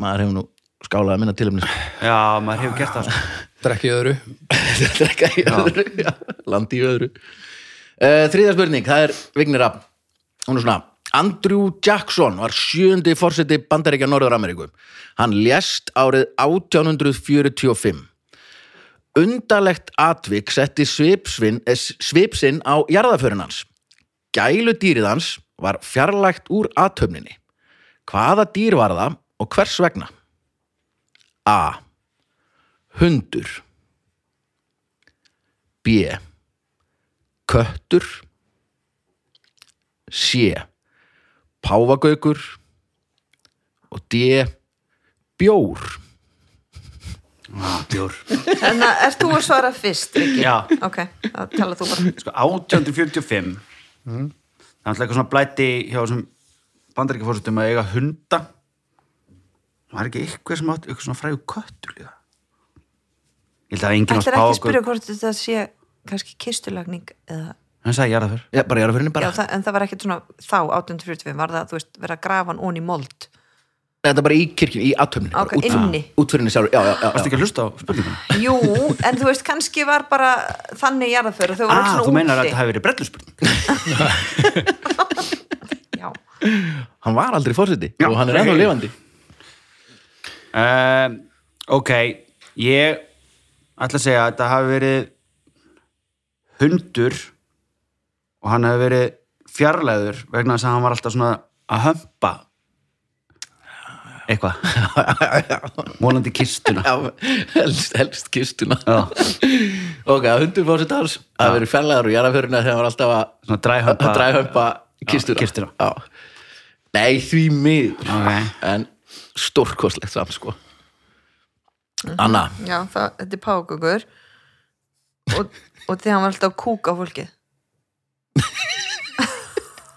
S1: maður hefur nú skálað að minna tilöfni.
S2: Já, maður hefur gert það sko.
S4: Drekki öðru
S1: Þetta er ekki í öðru. Já, landi í öðru. Uh, þriðja spurning, það er Vignir Rapp. Hún er svona, Andrew Jackson var sjöndi forseti Bandaríkja Norður-Ameríku. Hann lést árið 1845. Undarlegt atvik setti svipsvin, eh, svipsinn á jarðaförin hans. Gælu dýrið hans var fjarlægt úr aðtöfninni. Hvaða dýr var það og hvers vegna? A. Hundur. B. Köttur C. Páfagaukur og D. Bjór
S2: ah, Bjór
S3: en að- ert þú að svara fyrst Riki?
S2: Já.
S3: ok, þá tala þú bara
S2: sko, 1845 það er alltaf eitthvað svona blæti hjá þessum bandaríkjafórsutum að eiga hunda var ekki eitthvað sem átt eitthvað svona fræðu köttur líka ég held að enginn
S3: ætlar ekki að spyrja hvort þetta sé kannski kistulagning eða,
S2: hann sagði ég er það fyrr
S1: Já, bara ég er að fyrir henni bara
S3: já, það, en það var ekkert svona þá 1845 var það, þú veist, vera að grafa hann onni í mold
S1: Þetta er bara í kirkjunni, í aðtöfninu
S3: Ok,
S1: bara, út-
S3: inni.
S1: Út fyrir henni sjálfur, já, já, já,
S2: varstu ekki að hlusta á spurninguna
S3: jú, en þú veist, kannski var bara þannig jarðaför og þau voru
S2: ah,
S3: öll
S2: þú
S3: svona
S2: meinar að
S3: úti
S2: þetta hafi verið brelluspurning
S3: já,
S1: já Hann var aldrei fórseti
S2: Já,
S1: og hann er
S2: ok.
S1: ennþá lifandi
S2: um, ok ég ætla að segja að þetta hafi verið hundur og hann hafi verið fjarlæður vegna þess að hann var alltaf svona að hömpa eitthvað vonandi kistuna
S1: Já, <laughs> helst, helst kistuna
S2: Já,
S1: <laughs> Ok, að hundur fórseti hans að verið fjarlæður og jarðaförina þegar hann var alltaf að
S2: svona dræhömpa
S1: að dræhömpa kistuna,
S2: Já, kistuna.
S1: Já. Nei, því miður
S2: Ok.
S1: en stórkostlegt samt sko Anna,
S3: já það, þetta er págögur og, og því hann var alltaf að kúka á fólkið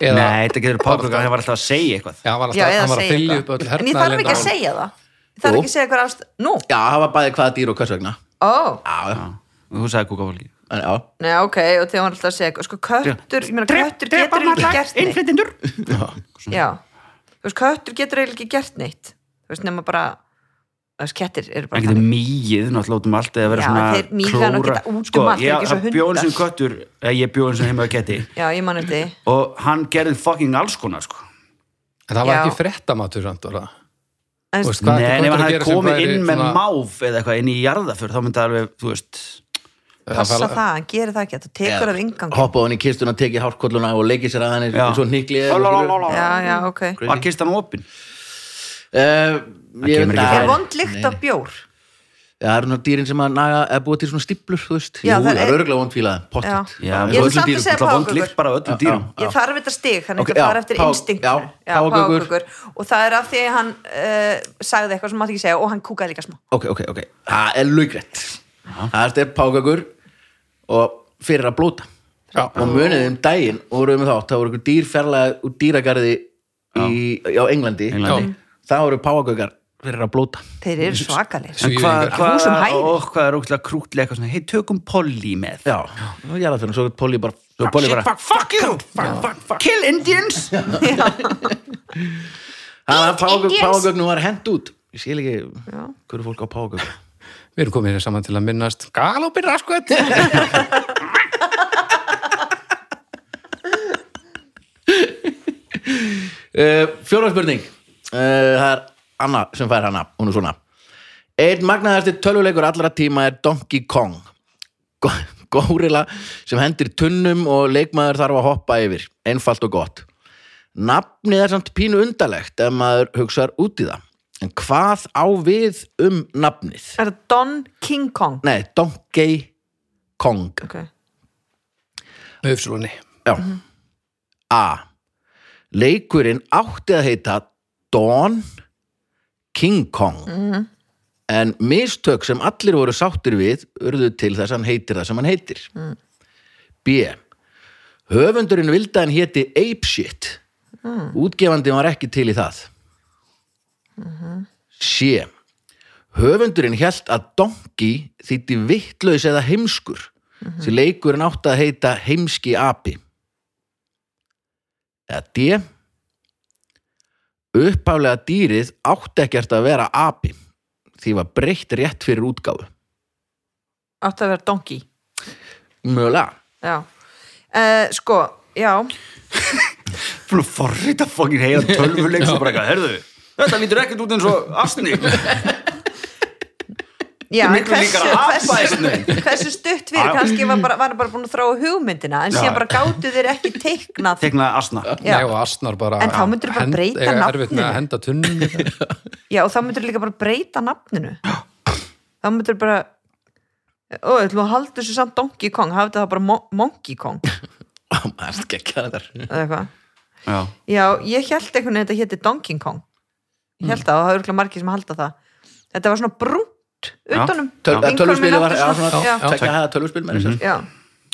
S4: Eða,
S2: Nei, þetta getur pákuga, hann var alltaf að segja eitthvað
S4: Já, hann var
S3: já,
S4: alltaf,
S3: eða
S4: hann var að
S3: segja
S4: fylgja upp
S3: eitthvað. en
S4: öll
S3: ég þarf
S4: hernaðarleyndarmál.
S3: ekki að segja það ég þarf
S1: Jú.
S3: ekki að segja hver ást nú,
S1: já, það var bæði hvaða dýr og hvers vegna
S3: ó,
S1: Já, já,
S2: og þú sagði kúka fólki
S1: en já
S3: Nei, ok, og þegar hann alltaf að segja eitthvað, sko köttur, ég meina köttur
S2: Drepa
S3: getur
S2: hann
S3: ekki
S2: alla,
S3: gert neitt
S2: innflytjendur
S3: já, þú veist, köttur getur eiginlega ekki gert neitt þú veist, nema bara þú veist, kettir eru
S2: Það
S3: bara
S2: getur mýið, náttúrulega út um allt eða vera
S3: Já,
S2: svona
S3: þeir míga nú geta út um allt, þeir
S2: ég,
S3: eru ekki svo
S2: það bjóðin sem
S3: hundar.
S2: köttur eða ég bjóðin sem heima á ketti
S3: já, ég man þetta í.
S2: og hann gerði fucking alls konar sko.
S4: En það var
S3: Já.
S4: ekki fréttamatur samt var það?
S3: En
S4: Þú veist, hvað ætti
S2: Nei, ef hann hefði
S4: köttur að gera sem
S2: komið
S4: væri
S2: inn með
S4: svona-
S2: máf eða eitthvað inn í jarðaför þá myndi það alveg, þú veist
S3: passa
S4: Það
S3: það,
S4: fara-
S3: hann gerir það ekki þú tekur af yngang
S1: hoppa á hann í kistuna, tekið hárkolluna og leikið sér að hann
S2: Já.
S1: eins og hnigli eða-
S3: já, já, ok
S2: var kistan opin
S1: Eh, ég
S2: kemur
S1: veit
S2: ekki
S1: að-
S3: er vond lykt af bjór
S1: Já, það eru náttúrulega dýrin sem að naga eða búa til svona stíplur, þú veist
S3: Já,
S1: Jú, það
S3: það
S1: er
S3: er-
S1: örgulega vond fílaði,
S3: Já.
S1: pottet
S2: Já, svo
S3: Ég
S2: öllum dýrum,
S3: vil samt að segja
S2: náttúrulega vond
S3: páfagaukur.
S2: lykt bara á öllum dýrum
S3: ég þarf þetta stig, hann
S1: Ok,
S3: okay, fara
S1: já,
S3: eftir
S1: pá-
S3: instinktinu
S1: já, páfagaukur.
S3: páfagaukur. og það er af því að hann uh, sagði eitthvað sem maður ekki segja og hann kúkaði líka smá
S1: Ok, ok, ok, það er laugrætt Það er pákakur og fyrir að blóta
S4: Já.
S1: og munið um daginn voruðum við þátt það voru ykkur dýr fjarlæði úr dýragarði í, á Englandi,
S2: Englandi.
S1: það voru pákaukar fyrir að blóta
S3: þeir eru svakalir
S2: En hvað,
S4: Svíðingar.
S2: hvað,
S3: Húsum hæðir.
S2: og hvað er ógæslega krútlega eitthvað svona, hei, tökum Polly með
S1: Já, og ég er að fyrir, svo Polly bara
S2: Svo
S1: svo
S2: Polly bara, Ah, fuck, fuck you, fuck, fuck, fuck kill Indians
S1: Þannig að
S3: Indians.
S1: pákauknum var hent út Ég skil ekki hverju fólk á pákauk
S4: Við erum komin hér saman til að minnast Galopin raskvöld
S2: <laughs>
S1: uh, Fjóra spurning uh, Það er Anna sem fær hana Hún er svona Einn magnaðasti tölvuleikur allra tíma er Donkey Kong Gó- Górilla sem hendir tunnum og leikmaður þarf að hoppa yfir Einfalt og gott Nafnið er samt pínu undarlegt ef maður hugsar út í það En hvað á við um nafnið?
S3: er það Don King Kong
S1: Nei, Donkey Kong
S3: okay.
S4: Með uppsrúni
S1: Já A leikurinn átti að heita Dawn King Kong en mistök sem allir voru sáttir við urðu til þess að hann heitir það sem hann heitir B höfundurinn vildi að hann héti Apeshit útgefandi var ekki til í það C höfundurinn hélt að donkey þýtti vittlaus eða heimskur mm -hmm. sem leikurinn átti að heita heimski api eða D uppálega dýrið átti ekkert að vera api því var breytt rétt fyrir útgáfu
S3: átti að vera donkey
S1: mögulega <laughs>
S3: já, uh, sko, já
S2: Búin að forrita fókin <laughs> heila tölvuleik svo bara eitthvað, herðu, þetta lítur ekkert út eins og <laughs> afsni
S3: Já,
S2: Miklu
S3: en hversu,
S2: líkara apa einhvern
S3: hversu,
S2: veginn.
S3: hversu stutt fyrir,
S2: Já.
S3: kannski var bara, var bara búin að þróa hugmyndina, en
S2: Já.
S3: síðan bara gátu þeir ekki teiknað
S2: Teknaði asna
S3: Já.
S4: Nei, og asnar bara
S3: En þá myndirðu bara breyta
S4: eiga erfitt með
S3: nafninu.
S4: að henda tunnum
S3: Já, og þá myndir líka bara breyta nafninu þá myndir bara ó, við ætlum að halda þessu samt Donkey Kong hafði það bara Mo- Monkey Kong
S1: maður gekkja þetta
S3: eða eitthvað
S2: Já,
S3: Já, ég held einhvern veginn að þetta héti Donkey Kong ég
S2: Mm.
S3: held það og það eru margir sem halda það Þetta var svona brúnt utanum
S1: Töl,
S2: Já.
S1: eða tölvuspilið var já,
S3: já,
S1: svona,
S3: já,
S1: já, tvekja hæða tölvuspil með
S4: Mhm.
S1: þessar
S3: já,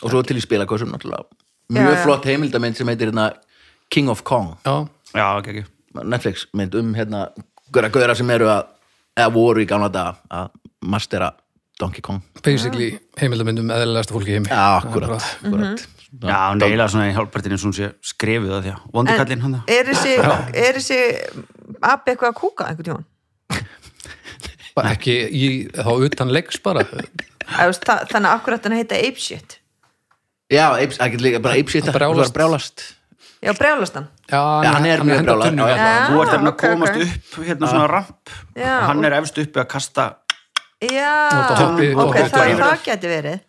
S1: og svo til í spilakossum náttúrulega
S3: Já,
S1: mjög
S3: já.
S1: flott heimildamind sem heitir hérna, King of Kong
S4: Já,
S2: já, ekki, ekki
S1: Netflix mynd um hérna gauðra gauðra sem eru að eða voru í gamla daga að mastera Donkey Kong
S4: basically heimildamindum eðlilegasta fólki í heimi
S1: já, akkurat, akkurat.
S3: Mhm.
S2: Já, hann er eiginlega svona í hálfpartinu svona sé skrefið það því að vondi kallinn hann það
S3: er þessi er þessi api eitthvað að kúka einhvern tímann
S4: Bara ekki í, þá utan leiks bara
S3: Eða, þú veist, það- Þannig að akkurat hann heita Apeshit
S1: já, apes- það getur líka bara apeshita
S4: Að brjálast.
S1: Bara brjálast
S3: Já, brjálast hann
S4: Já,
S1: Já, hann er
S4: að
S1: mjög
S4: henda
S1: brjálaður,
S4: tunnum
S1: já,
S4: í
S1: já.
S4: alla.
S2: Þú ert þarna að
S3: ok,
S2: komast
S3: ok.
S2: upp hérna svona ramp
S3: Já.
S2: og hann er efst uppi að kasta
S3: Já,
S4: Nota hoppi-
S3: ok,
S4: hoppi
S3: það,
S2: yfir.
S3: það geti verið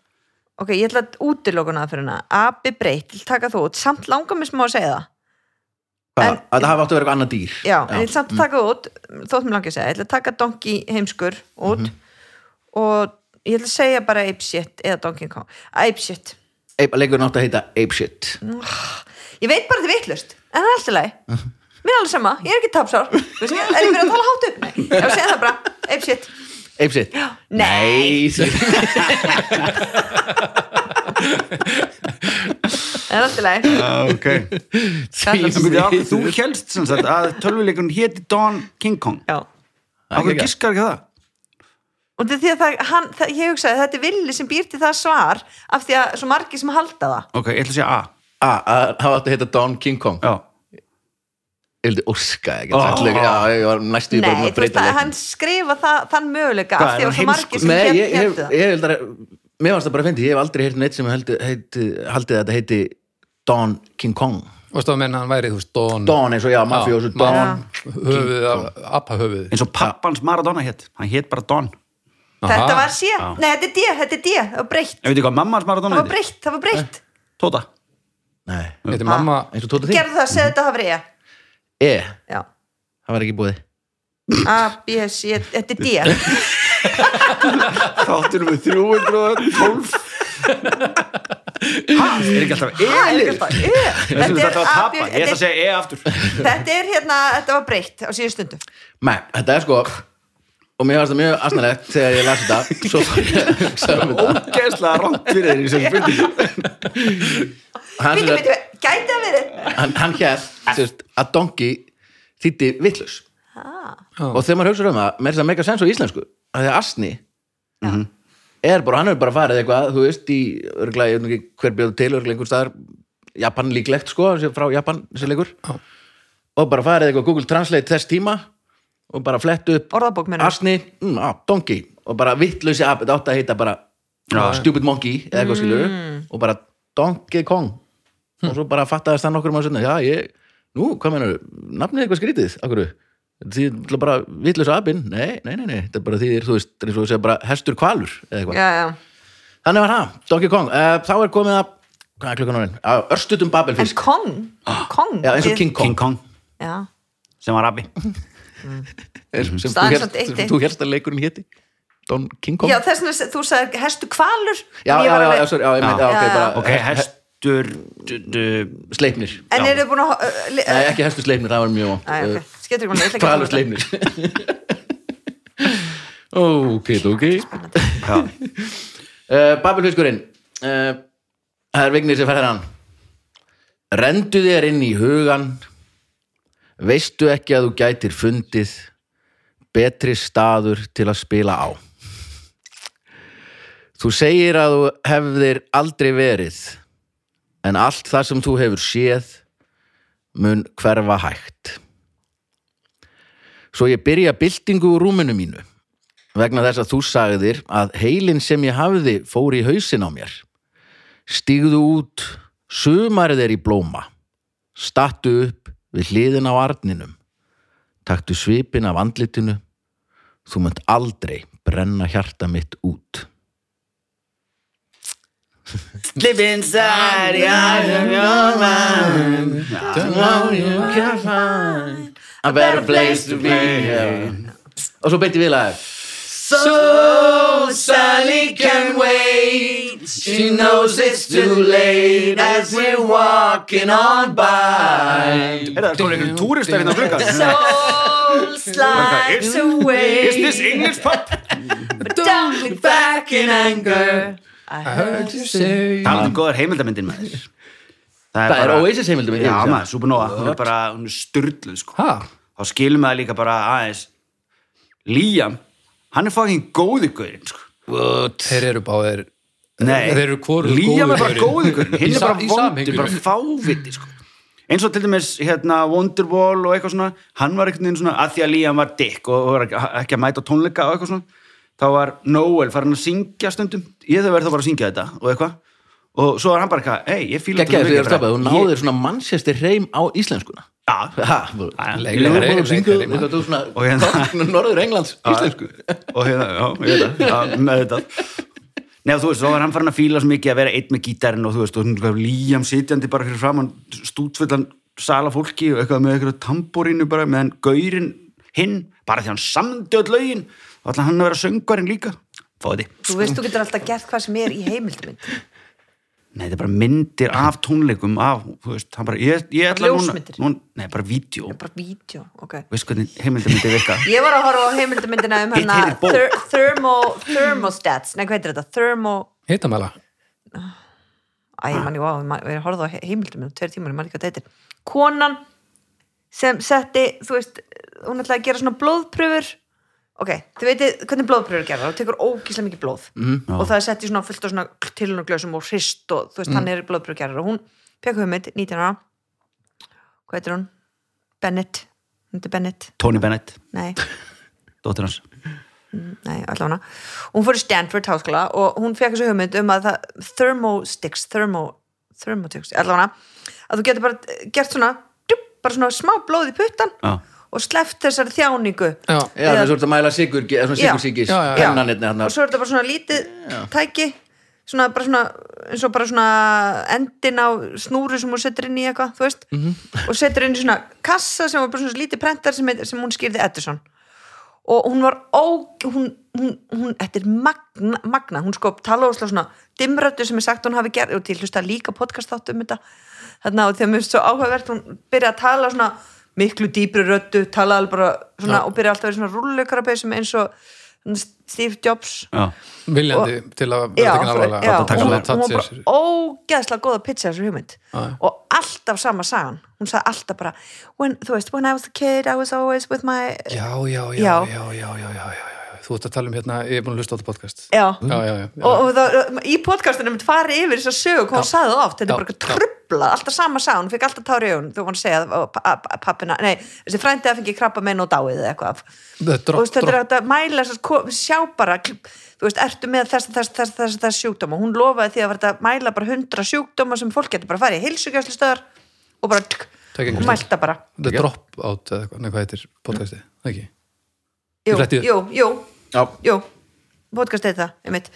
S3: Ok, ég ætla að útilokuna fyrir hana Abi breytt, ég ætla að taka þú út Samt langar mér smá að segja það
S1: Hvað?
S3: En-
S1: að það hafa átt að vera eitthvað annað dýr
S3: Já, en ég ætla
S1: Mm.
S3: samt að taka þú út Þótt mér langar að segja, ég ætla að taka Donkey heimskur út
S1: Mhm.
S3: Og ég ætla að segja bara Apeshit eða Donkey Kong Apeshit,
S1: Ape- leikurinn átti að heita apeshit
S3: ég veit bara þið vittlust En það er alltaf leið
S1: Mhm.
S3: Mér er alveg sama, ég er
S1: <laughs>
S3: ekki tapsár Þú veist, Er ég byrjað að tala hátt upp? Nei, ég var að segja það bara, apeshit
S1: apeshit
S3: Nei. <laughs>
S1: Nei.
S3: Það er alltaf leið
S2: <laughs> Ok Þú <laughs> helst sem sagt að tölvuleikun héti Don King Kong
S3: Já
S2: Akkur giskar ekki á það
S3: og þetta er því að það, hann, það, ég hugsaði að þetta er villi sem býr til það svar af því að svo margir sem halda það
S2: Ok, ég ætla að segja A
S1: Ah, að hafa átt að heita Don King Kong
S2: Já,
S1: ég vildi orska ekki
S2: Oh.
S1: já, ég var næstu bara búin
S3: nei,
S1: að
S3: þú veist
S1: breyta
S3: að
S1: leiknum.
S3: hann skrifa það, þann möguleika
S2: Hvað,
S3: af því
S2: er
S3: að
S2: hann
S3: svo margir sem
S1: Nei,
S3: hét-
S1: ég, ég,
S3: hétu það
S1: ég heldur að mér varst það bara að fyndi, ég hef aldrei heyrt neitt sem heldur, heiti, haldið að þetta heiti Don King Kong
S4: Varstu að menna hann væri, þú veist, Don
S1: Don eins og já, mafjósu Don
S4: Höfuð, appa höfuð
S2: eins og pappans Maradona hétt Hann hétt bara Don
S3: þetta var sé,
S2: Já.
S3: nei þetta er D, þetta er D það var breytt,
S2: Ég veit ekki hvað mamma hans
S3: það
S2: Maradona
S3: var
S2: hétt
S3: breytt, það var
S1: Eh,
S3: breytt
S2: Tóta
S1: Nei,
S4: Þetta er mamma
S1: Ah, eins og tóta þín
S3: gerðu það, segðu þetta hafa verið ég
S1: E,
S3: Já.
S1: það var ekki búið
S3: A, B, C, E, þetta
S1: <laughs>
S3: er D
S2: Þáttunum við 312 Ha, er ekki alltaf E
S3: Ha, er
S2: lið?
S3: ekki alltaf E?
S2: Þessum
S3: Þetta er
S2: þetta var að
S3: A,
S2: tapa,
S3: B,
S2: ég ætla að
S3: þetta
S2: segja E aftur
S3: þetta er hérna, þetta var breytt á síðu stundu
S1: Nei, þetta er sko og mér varst það mjög asnalegt þegar ég las þetta svo fór ég að hugsa um þetta
S2: Ógeðslega rámt fyrir þeir í þessum spurningu
S1: Hann,
S3: býtu, býtu, gæti að verið
S1: hann, hann hér að Donki þýtti vitlaus
S4: Já.
S1: og þegar maður hugsa um það, mér er það mega sens á íslensku að því að asni Mhm. er bara, hann er bara farið eitthvað þú veist, í örgla, ég veit nú ekki hver bjóðu til örgla einhver staðar, Japan líklegt sko, hann sé frá Japan, þessi leikur
S4: Já.
S1: og bara farið eitthvað Google Translate þess tíma og bara flett upp
S3: Orðabók, meinarðu?
S1: asni, mm, á, donki og bara vittlausi app, þetta átti að heita bara uh, stupid monkey, eða eitthvað skilur
S3: Mm.
S1: og bara donkey kong og svo bara fattaðist það nokkur maður sinna já, ég, nú, hvað meinar, nafnið eitthvað skrítið, akkur því er bara vittlausi appin, nei, nei, nei, nei þetta er bara því, þú veist, eins og þú segir bara hestur kvalur eða eitthvað
S3: já, já,
S1: Þannig var það, Donkey Kong uh, Þá er komið að, hvað er klukkan orðin? Uh, Örstutum
S3: en
S1: Babelfisk,
S3: Kong Kong,
S1: Ah. já, eins og King Kong
S2: King Kong,
S3: já
S2: sem var rabbi
S1: eins og sem, þú
S3: Staðan
S1: hélst-
S3: samt eitt
S1: sem
S3: eitt.
S1: þú hérst að leikurinn héti Don King Kong
S3: Já, þess vegna, þú sagði hestu kvalur
S1: já, já,
S3: og ég var
S1: já,
S3: alveg-
S1: já, sorry, já, ég meint,
S2: Já.
S1: já, ok, bara
S2: Ok, hest, hestur d- d-
S1: Sleipnir
S3: En
S2: Já.
S3: eru þið búin að... Nei,
S1: Nei, ekki hestur sleipnir, það var mjög vant
S3: Æ, ok,
S1: <laughs>
S3: skettur ekki maður
S1: Hvalur sleipnir <laughs> Ok, ok
S2: já,
S1: uh, Babelhauskurinn uh, Það er vignir sem fer hann Rendu þér inn í hugan Veistu ekki að þú gætir fundið Betri staður til að spila á Þú segir að þú hefðir aldrei verið En allt það sem þú hefur séð mun hverfa hægt Svo ég byrja byltingu úr rúminu mínu vegna þess að þú sagðir að heilin sem ég hafði fór í hausin á mér. Stígðu út, sumarið er í blóma. Stattu upp við hliðin á arninum. Taktu svipin af andlitinu. Þú munt aldrei brenna hjarta mitt út.
S2: Live inside the eyes of your mind
S1: A better place to be Og svo beinti við lagið.
S2: So
S1: Sally can wait. She knows it's too late as we're walking on by.
S2: Er það komið einhverjum túristar hérna á glugga?
S3: Soul slides
S2: Is
S3: away
S2: this English pop?
S3: Don't look back in anger I heard you
S2: Talandi um góðar heimildamyndin með þér Það
S1: Það er
S2: bara-
S1: Oasis heimildum
S2: Já, maður, Supernova, hún er bara, hún er styrluð, sko
S4: ha,
S2: Þá skilum maður líka bara aðeins Liam, hann er fucking góði guðurinn, sko
S1: What?
S4: þeir eru báðir
S2: Nei,
S4: Þeir eru hvorugur
S2: Liam er bara
S4: góður
S2: góði
S4: gaurinn.
S2: guðurinn Hinn
S4: Í
S2: er
S4: sa-
S2: bara
S4: í
S2: vondur,
S4: samhenginu.
S2: bara fáviti, sko eins og til dæmis hérna Wonderwall og eitthvað svona hann var einhvern veginn svona, að því að Liam var dikk og var ekki ekki að mæta á tónleika og eitthvað svona þá var Noel farin að syngja stundum ég þau verið þá bara að syngja þetta og eitthvað og svo var hann bara eitthvað, ei, ég fíla
S1: Gekkjaði fyrir að
S2: þetta
S1: skapa, þú náðir svona mannsestir reim á íslenskuna.
S2: Já,
S1: Ha,
S4: Leikari,
S1: Leikari,
S4: leikari,
S1: leikari. Þú
S2: Og hérna-
S1: <laughs> svona norður Englands íslensku.
S2: <laughs> og hérna, já, ég veit það, já, með þetta Nei, og þú veist, þá var hann farin að fíla svo mikið að vera einn með gítarinn og þú veist, og hún gaf líjam sitjandi bara fyrir framann stútfullan sala fólki og eitthvað með eitthvað tamborínu bara, meðan gaurinn hinn, bara því hann samdi öll lögin og allan hann að vera söngvarinn líka Fóði,
S3: Þú veist, þú getur alltaf gert hvað sem er í heimildamind
S2: nei, þetta er bara myndir af tónleikum, af, þú veist, hann bara ég, ég ætla núna,
S3: Ljósmyndir.
S2: núna, nei, bara vídeo,
S3: Bara vídeo, ok
S2: veist hvernig heimildamyndi virka
S3: Ég var að horfa á heimildamindina um
S2: Hitt
S3: hana
S2: heitir bók.
S3: ther thermo, Thermostats, nei hvað heitir þetta? Thermo,
S4: hittamæla
S3: æ, ég manni, wow, ég man- ég horfði á heimildamindum tveir tímar, ég manni hvað þetta heitir Konan sem setti, þú veist, hún ætlaði að gera svona blóðpröfur Ok, þið veitir hvernig blóðpröfur gerða, þú tekur ógíslega mikið blóð mm, og það er sett í svona fullt á svona tilhjónuglösum og hrist og þú veist, hann er blóðpröfur gerða og hún pekka hugmynd, 19 ára Hvað heitir hún? Bennett, hún heitir Bennett,
S2: Tony Bennett,
S3: nei
S2: dóttir hans
S3: nei, allavega hún fór í Stanford háskóla og hún fekk þessu hugmynd um að það thermosticks, thermo, thermosticks allavega, að þú getur bara eh, gert svona, djup, bara svona smá blóð í puttan
S2: Já.
S3: og sleppt þessari þjáningu
S4: Já.
S1: Já, þú ert að mæla sigur, eða svona
S3: Já.
S1: sigur sigis,
S4: Já, já, já.
S1: pennanirni hann
S3: og svo er þetta bara svona lítið tæki svona bara svona eins og bara svona endin á snúru sem hún setur inn í eitthvað, þú veist og setur inn í svona kassa sem var bara svona lítið prentar sem, heit- sem hún skýrði Edison og hún var ó hún, hún, hún, þetta er magna, magna hún sko tala óslega svona dimröttu sem er sagt hún hafi gerð, og til hlusta líka podcast þáttu um þetta, þannig að þegar mér finnst svo áhugavert hún byrja að tala svona miklu dýpri röttu, tala alveg bara svona, og byrja alltaf að vera svona rúllukarabæð sem eins og Steve Jobs
S2: Já,
S4: viljandi til að vera
S3: já,
S4: tekin
S3: þú-
S4: alvarlega
S3: já,
S4: Láta taka
S3: hún,
S4: svona
S3: hún var
S4: touch í
S3: bara
S4: sér.
S3: ógeðslega góð að pitcha þessu hugmynd
S4: Já, já.
S3: og alltaf sama sagan hún sagði alltaf bara when, þú veist, when I was a kid I was always with my já,
S4: já, já, já,
S3: Já.
S4: já, já, já, já, já, já. þú ert að tala um hérna, ég er búin að hlusta á þetta podcast já, já, já, já.
S3: og, og það, í podcastinu mitt farið yfir þess að sögu hvað hún sagði það oft, þetta
S4: Já,
S3: er bara
S4: já.
S3: trubla alltaf sama sagan, hún fekk alltaf tári í augun þú voru að segja að pa- pa- pappina, nei, þessi frændi að fengi krabba menn og dáið eða eitthvað
S4: The
S3: og þú
S4: drop,
S3: veist, þetta er
S4: drop,
S3: hægt að mæla þess að ko- sjá bara, kl- þú veist, ertu með þess, þess, þess, þess, þess sjúkdóma, hún lofaði því að verða að mæla bara hundra sjúkdóma sem fólk getur bara að fara í heilsugjöfslustöðar og bara tk,
S4: Taka
S3: og
S4: einhvers
S3: mælta bara
S4: the drop out eða eitthvað, nei, hvað heitir podcasti, það ekki
S3: jú,
S4: fletti-
S3: jú, jú,
S1: Já,
S3: jú podcast er það, einmitt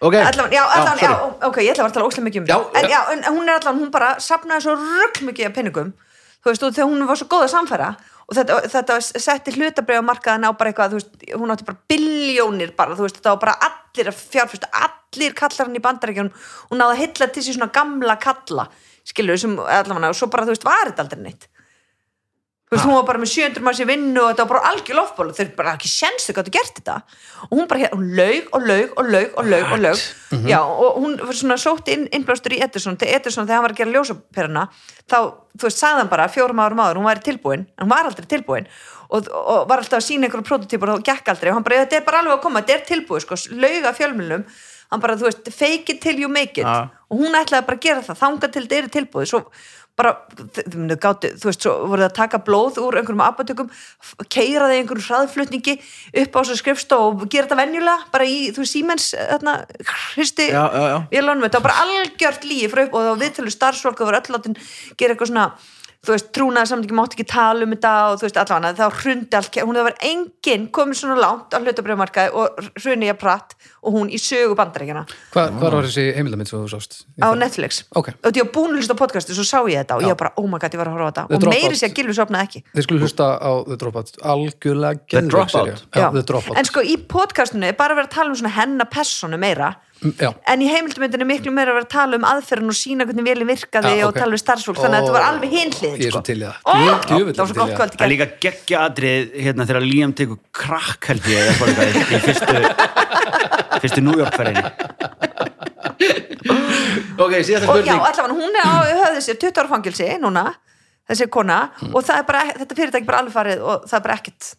S1: ok.
S3: allan, já, allan, já,
S1: sorry.
S3: ok, ég ætla að vera að tala óslega mikið um
S1: Já,
S3: það en já, en hún er allan, hún bara sapnaði svo rugg mikið af penningum þú veist, og þegar hún var svo góð að samfæra og þetta, þetta setti hlutabrið á markaðan á bara eitthvað, þú veist, hún átti bara biljónir bara, þú veist, þetta var bara allir að fjárfyrst, allir kallar hann í bandarækjunum hún náði að hylla til sér svona gamla kalla skilur sem allavega og svo bara, þú veist, var þetta aldrei neitt þú veist, hún var bara með 700 maður sér vinnu og þetta var bara algjör lofból og þeir bara ekki sjens þau gáttu gert þetta og hún bara hér, hún laug og laug og laug og laug og laug, já og hún var svona sótt inn, innblástur í Edison til Edison þegar hann var að gera ljósaperuna þá, þú veist, sagði hann bara fjórum árum áður hún væri tilbúin, en hún var aldrei tilbúin og, og var alltaf að sína einhverjum prototýpur og það gekk aldrei og hann bara, þetta er bara alveg að koma, þetta er tilbúið sko, lauga fjölmjölum hann bara, þú veist, fake it till you make it
S1: Já.
S3: og hún ætlaði bara að gera það, þanga til þetta eru tilbúið svo bara, þ- þau myndu gátu, þú veist, svo voru það að taka blóð úr einhverjum apatökum, keira það í einhverjum hraðflutningi upp á þessu skrifstof og gera þetta venjulega, bara í, þú veist, símens þarna, hristi
S1: Já, já, já.
S3: ég lónum þetta, það var bara algjört líi frá upp og það var viðtölu starfsfólk og voru öll látin gera eitthvað svona, þú veist, trúnaði samt ekki mátt ekki tala um þetta og þú veist, allavega þá hrundi allt, hún það var enginn komið svona langt á hlutabriðmarkaði og hruni ég pratt og hún í sögu bandarækjana
S4: Hvað, hvað var þessi heimildamind sem þú sást? Ég
S3: á
S4: þarf-
S3: Netflix
S4: Ok.
S3: og því að búin að hlusta á podcastu, svo sá ég þetta og ég
S4: Já.
S3: var bara, oh my god, ég var að horfa á
S4: The
S3: þetta og meiri
S4: Dropout.
S3: sér að Gilvi sopnaði ekki
S4: Þið skulle hlusta á The Dropout Algjörlega geðveik
S1: Dropout?
S4: sería. Já, The Dropout
S3: en sko í podcastinu er bara verið að tala um svona hennar personu meira
S4: Mm, Já,
S3: en í heimildumyndinu er miklu meira verið að tala um aðferðin og sína hvernig velin virkaði og
S4: Já, Ah, ok.
S3: tala um starfsfólk þannig að þetta var alveg
S4: Ég
S3: hinlið
S4: er
S3: sko.
S4: svo til í það.
S3: Ó,
S4: Djöfull-
S3: það
S4: djöfull
S3: var svo
S4: til í
S3: gott
S4: það.
S3: kvöld í
S2: Það er
S3: gær.
S2: líka geggja atrið hérna þegar Liam tekur krakk held ég eða eitthvað eitthvað, í fyrstu fyrstu New York ferðinni
S1: ok, síðasta
S3: og já,
S1: spurning
S3: allavega hún er á höfðu sér 20 ára fangilsi núna, þessi kona
S4: Mm.
S3: og það er bara, þetta fyrirtæki er bara alveg farið og það er bara ekkert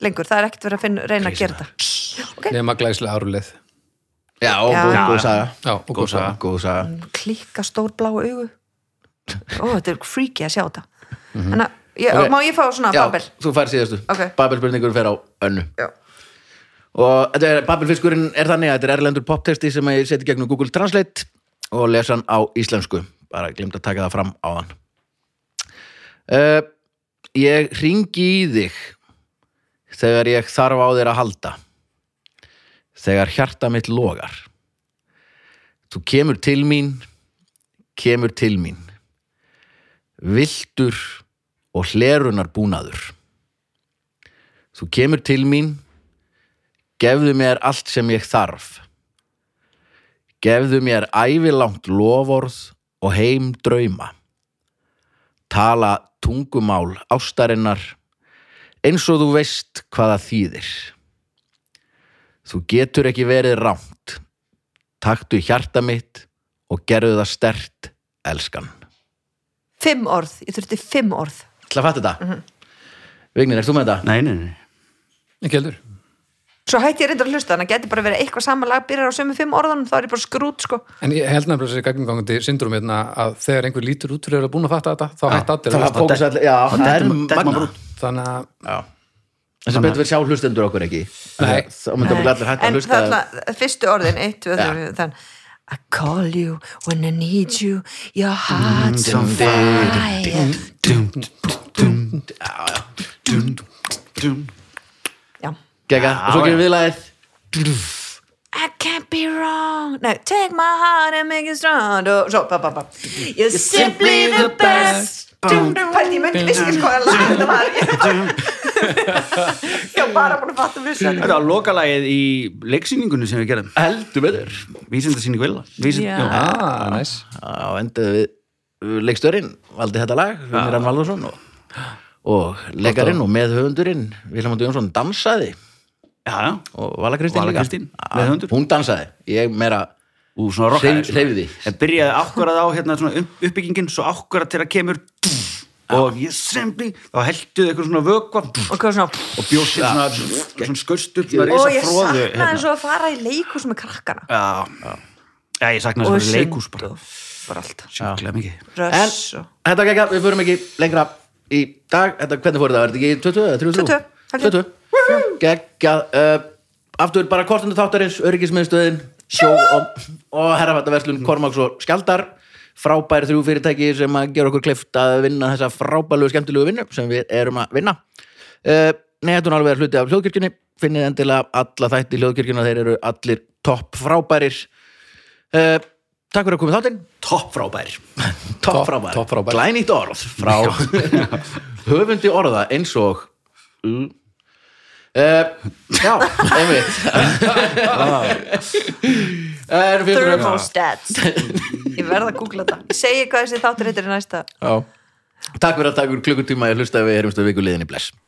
S3: lengur, það er ekkert verið að finna, reyna að gera þetta
S4: nema glæslega árulið
S1: já, og
S3: Já.
S1: góð- góð
S2: Já.
S1: saga
S4: Já, og
S2: Góð
S4: góð saga
S1: góð saga
S3: klikka stór bláu augu
S1: <laughs>
S3: ó, þetta er freaky að sjá þetta þannig að, ég,
S1: Mhm. Ok.
S3: má ég fá svona
S1: já,
S3: babel
S1: þú fær síðastu
S3: Ok.
S1: Babel spurningur fer á önnu
S3: Já.
S1: og þetta er, Babelfiskurinn er þannig að þetta er erlendur poptexti sem ég seti gegnum Google Translate og lesa hann á íslensku bara glimt að taka það fram á hann uh, Ég ringi í þig þegar ég þarf á þér að halda þegar hjarta mitt logar Þú kemur til mín kemur til mín viltur og hlerunar búnaður Þú kemur til mín Gefðu mér allt sem ég þarf. Gefðu mér ævilangt lovorð og heim drauma. Tala tungumál ástarinnar eins og þú veist hvað það þýðir. Þú getur ekki verið rámt. Taktu hjarta mitt og gerðu það stert, elskan.
S3: fimm orð, ég þurfti fimm orð
S1: Til að fatta þetta. Mm Vignir, ert þú með þetta?
S2: Nei, nei, nei
S4: Ekki heldur
S3: svo hætti ég reyndar að hlusta, þannig að geti bara verið eitthvað samanlag byrjar á sömu fimm orðanum, þá er ég bara skrút sko.
S4: En ég held nefnilega þessi gagnumgangandi syndrom hérna að þegar einhver lítur út fyrir að vera búin að fatta þetta þá hætti allir að
S1: Það
S4: hlusta.
S1: fókus allir, já, það er
S2: dettum- dettum
S1: magna.
S2: bara út.
S4: Þannig að
S1: Já. En sem betur verið sjá hlustendur okkur ekki.
S4: Nei.
S1: Þá myndum við allir hægt að
S3: en
S1: hlusta.
S3: það er fyrstu orðin eitt, tvö, þrjú, þann I call you when I need you your heart's
S1: Mm,
S3: on fire já
S1: Gekka, og svo gerum við lagið.
S3: I can't be wrong Nei, take my heart and make it strong og svo, ba, ba, ba You're simply the best Dum, dum, Pældi, ég myndi vissi ekki hvað að laga þetta var Ég <laughs> var bara búin að fatta vissi
S2: Það er að loka lagið í leiksýningunni sem við gerðum
S1: Heldur betur.
S2: Vísindasýning vilja Vísind,
S3: Já.
S2: já.
S4: Ah, næs
S1: Á endaði við leikstörinn, valdi þetta lag, Miran Valdursson og, og leikarinn og meðhöfundurinn, Vilhelm Andi Jónsson, dansaði
S2: já, já,
S1: og Vala Kristín
S2: Vala
S1: líka.
S2: Kristín,
S1: Ah,
S2: meðhöfundur.
S1: Hún dansaði, ég meira,
S2: ú, svona rockaði
S1: Hreyf-
S2: svona.
S1: hreyfði.
S2: En byrjaði ákvarað á hérna svona upp- uppbyggingin Svo ákvarað til að kemur Og ég sembli Þá helduði eitthvað svona vökva
S3: Og hvað svona
S2: Og bjóst til svona, svona skust upp
S3: Ó,
S2: Svona risa fróðu
S3: ég saknaði svo að fara í leikus með krakkana
S2: Já, já ég sakna
S3: Og
S2: þess að leikus
S3: sund
S2: bara
S3: og bara allt
S2: Sjúklega mikið
S1: en
S3: Röss og
S1: þetta gekka, við förum ekki lengra í dag, þetta, hvernig fór þetta, var þetta ekki 22 eða
S3: 22,
S1: 23? 22.
S3: 22.
S1: Gekka, uh, aftur bara kortinu þáttarins, öryggismiðstöðin, sjó og, og herrafættaverslun Kormáks og Skjaldar, frábæri þrjú fyrirtæki sem að gera okkur klift að vinna þessa frábælu skemmtilegu vinnu sem við erum að vinna. Uh, Neðatún alveg er hluti af hljóðkirkjunni, finnið endilega alla þætti hljóðkirkjuna, þeir eru allir topp frábærir. Uh, Takk fyrir að komið þáttinn
S2: Topp frábær
S1: <laughs> Topp
S4: Topp-
S1: frábær,
S4: topp frábær.
S1: glænýtt orð frá <laughs> höfundi orða eins og uh, Já, <laughs> einmitt Er Eh, við
S3: <laughs> Thermostats Ég verð að googla þetta Ég segi hvað þessi þáttur heitir í næsta
S1: Takk fyrir að takk fyrir klukkutíma ég hlusta að við erum stöðu viku liðinni bless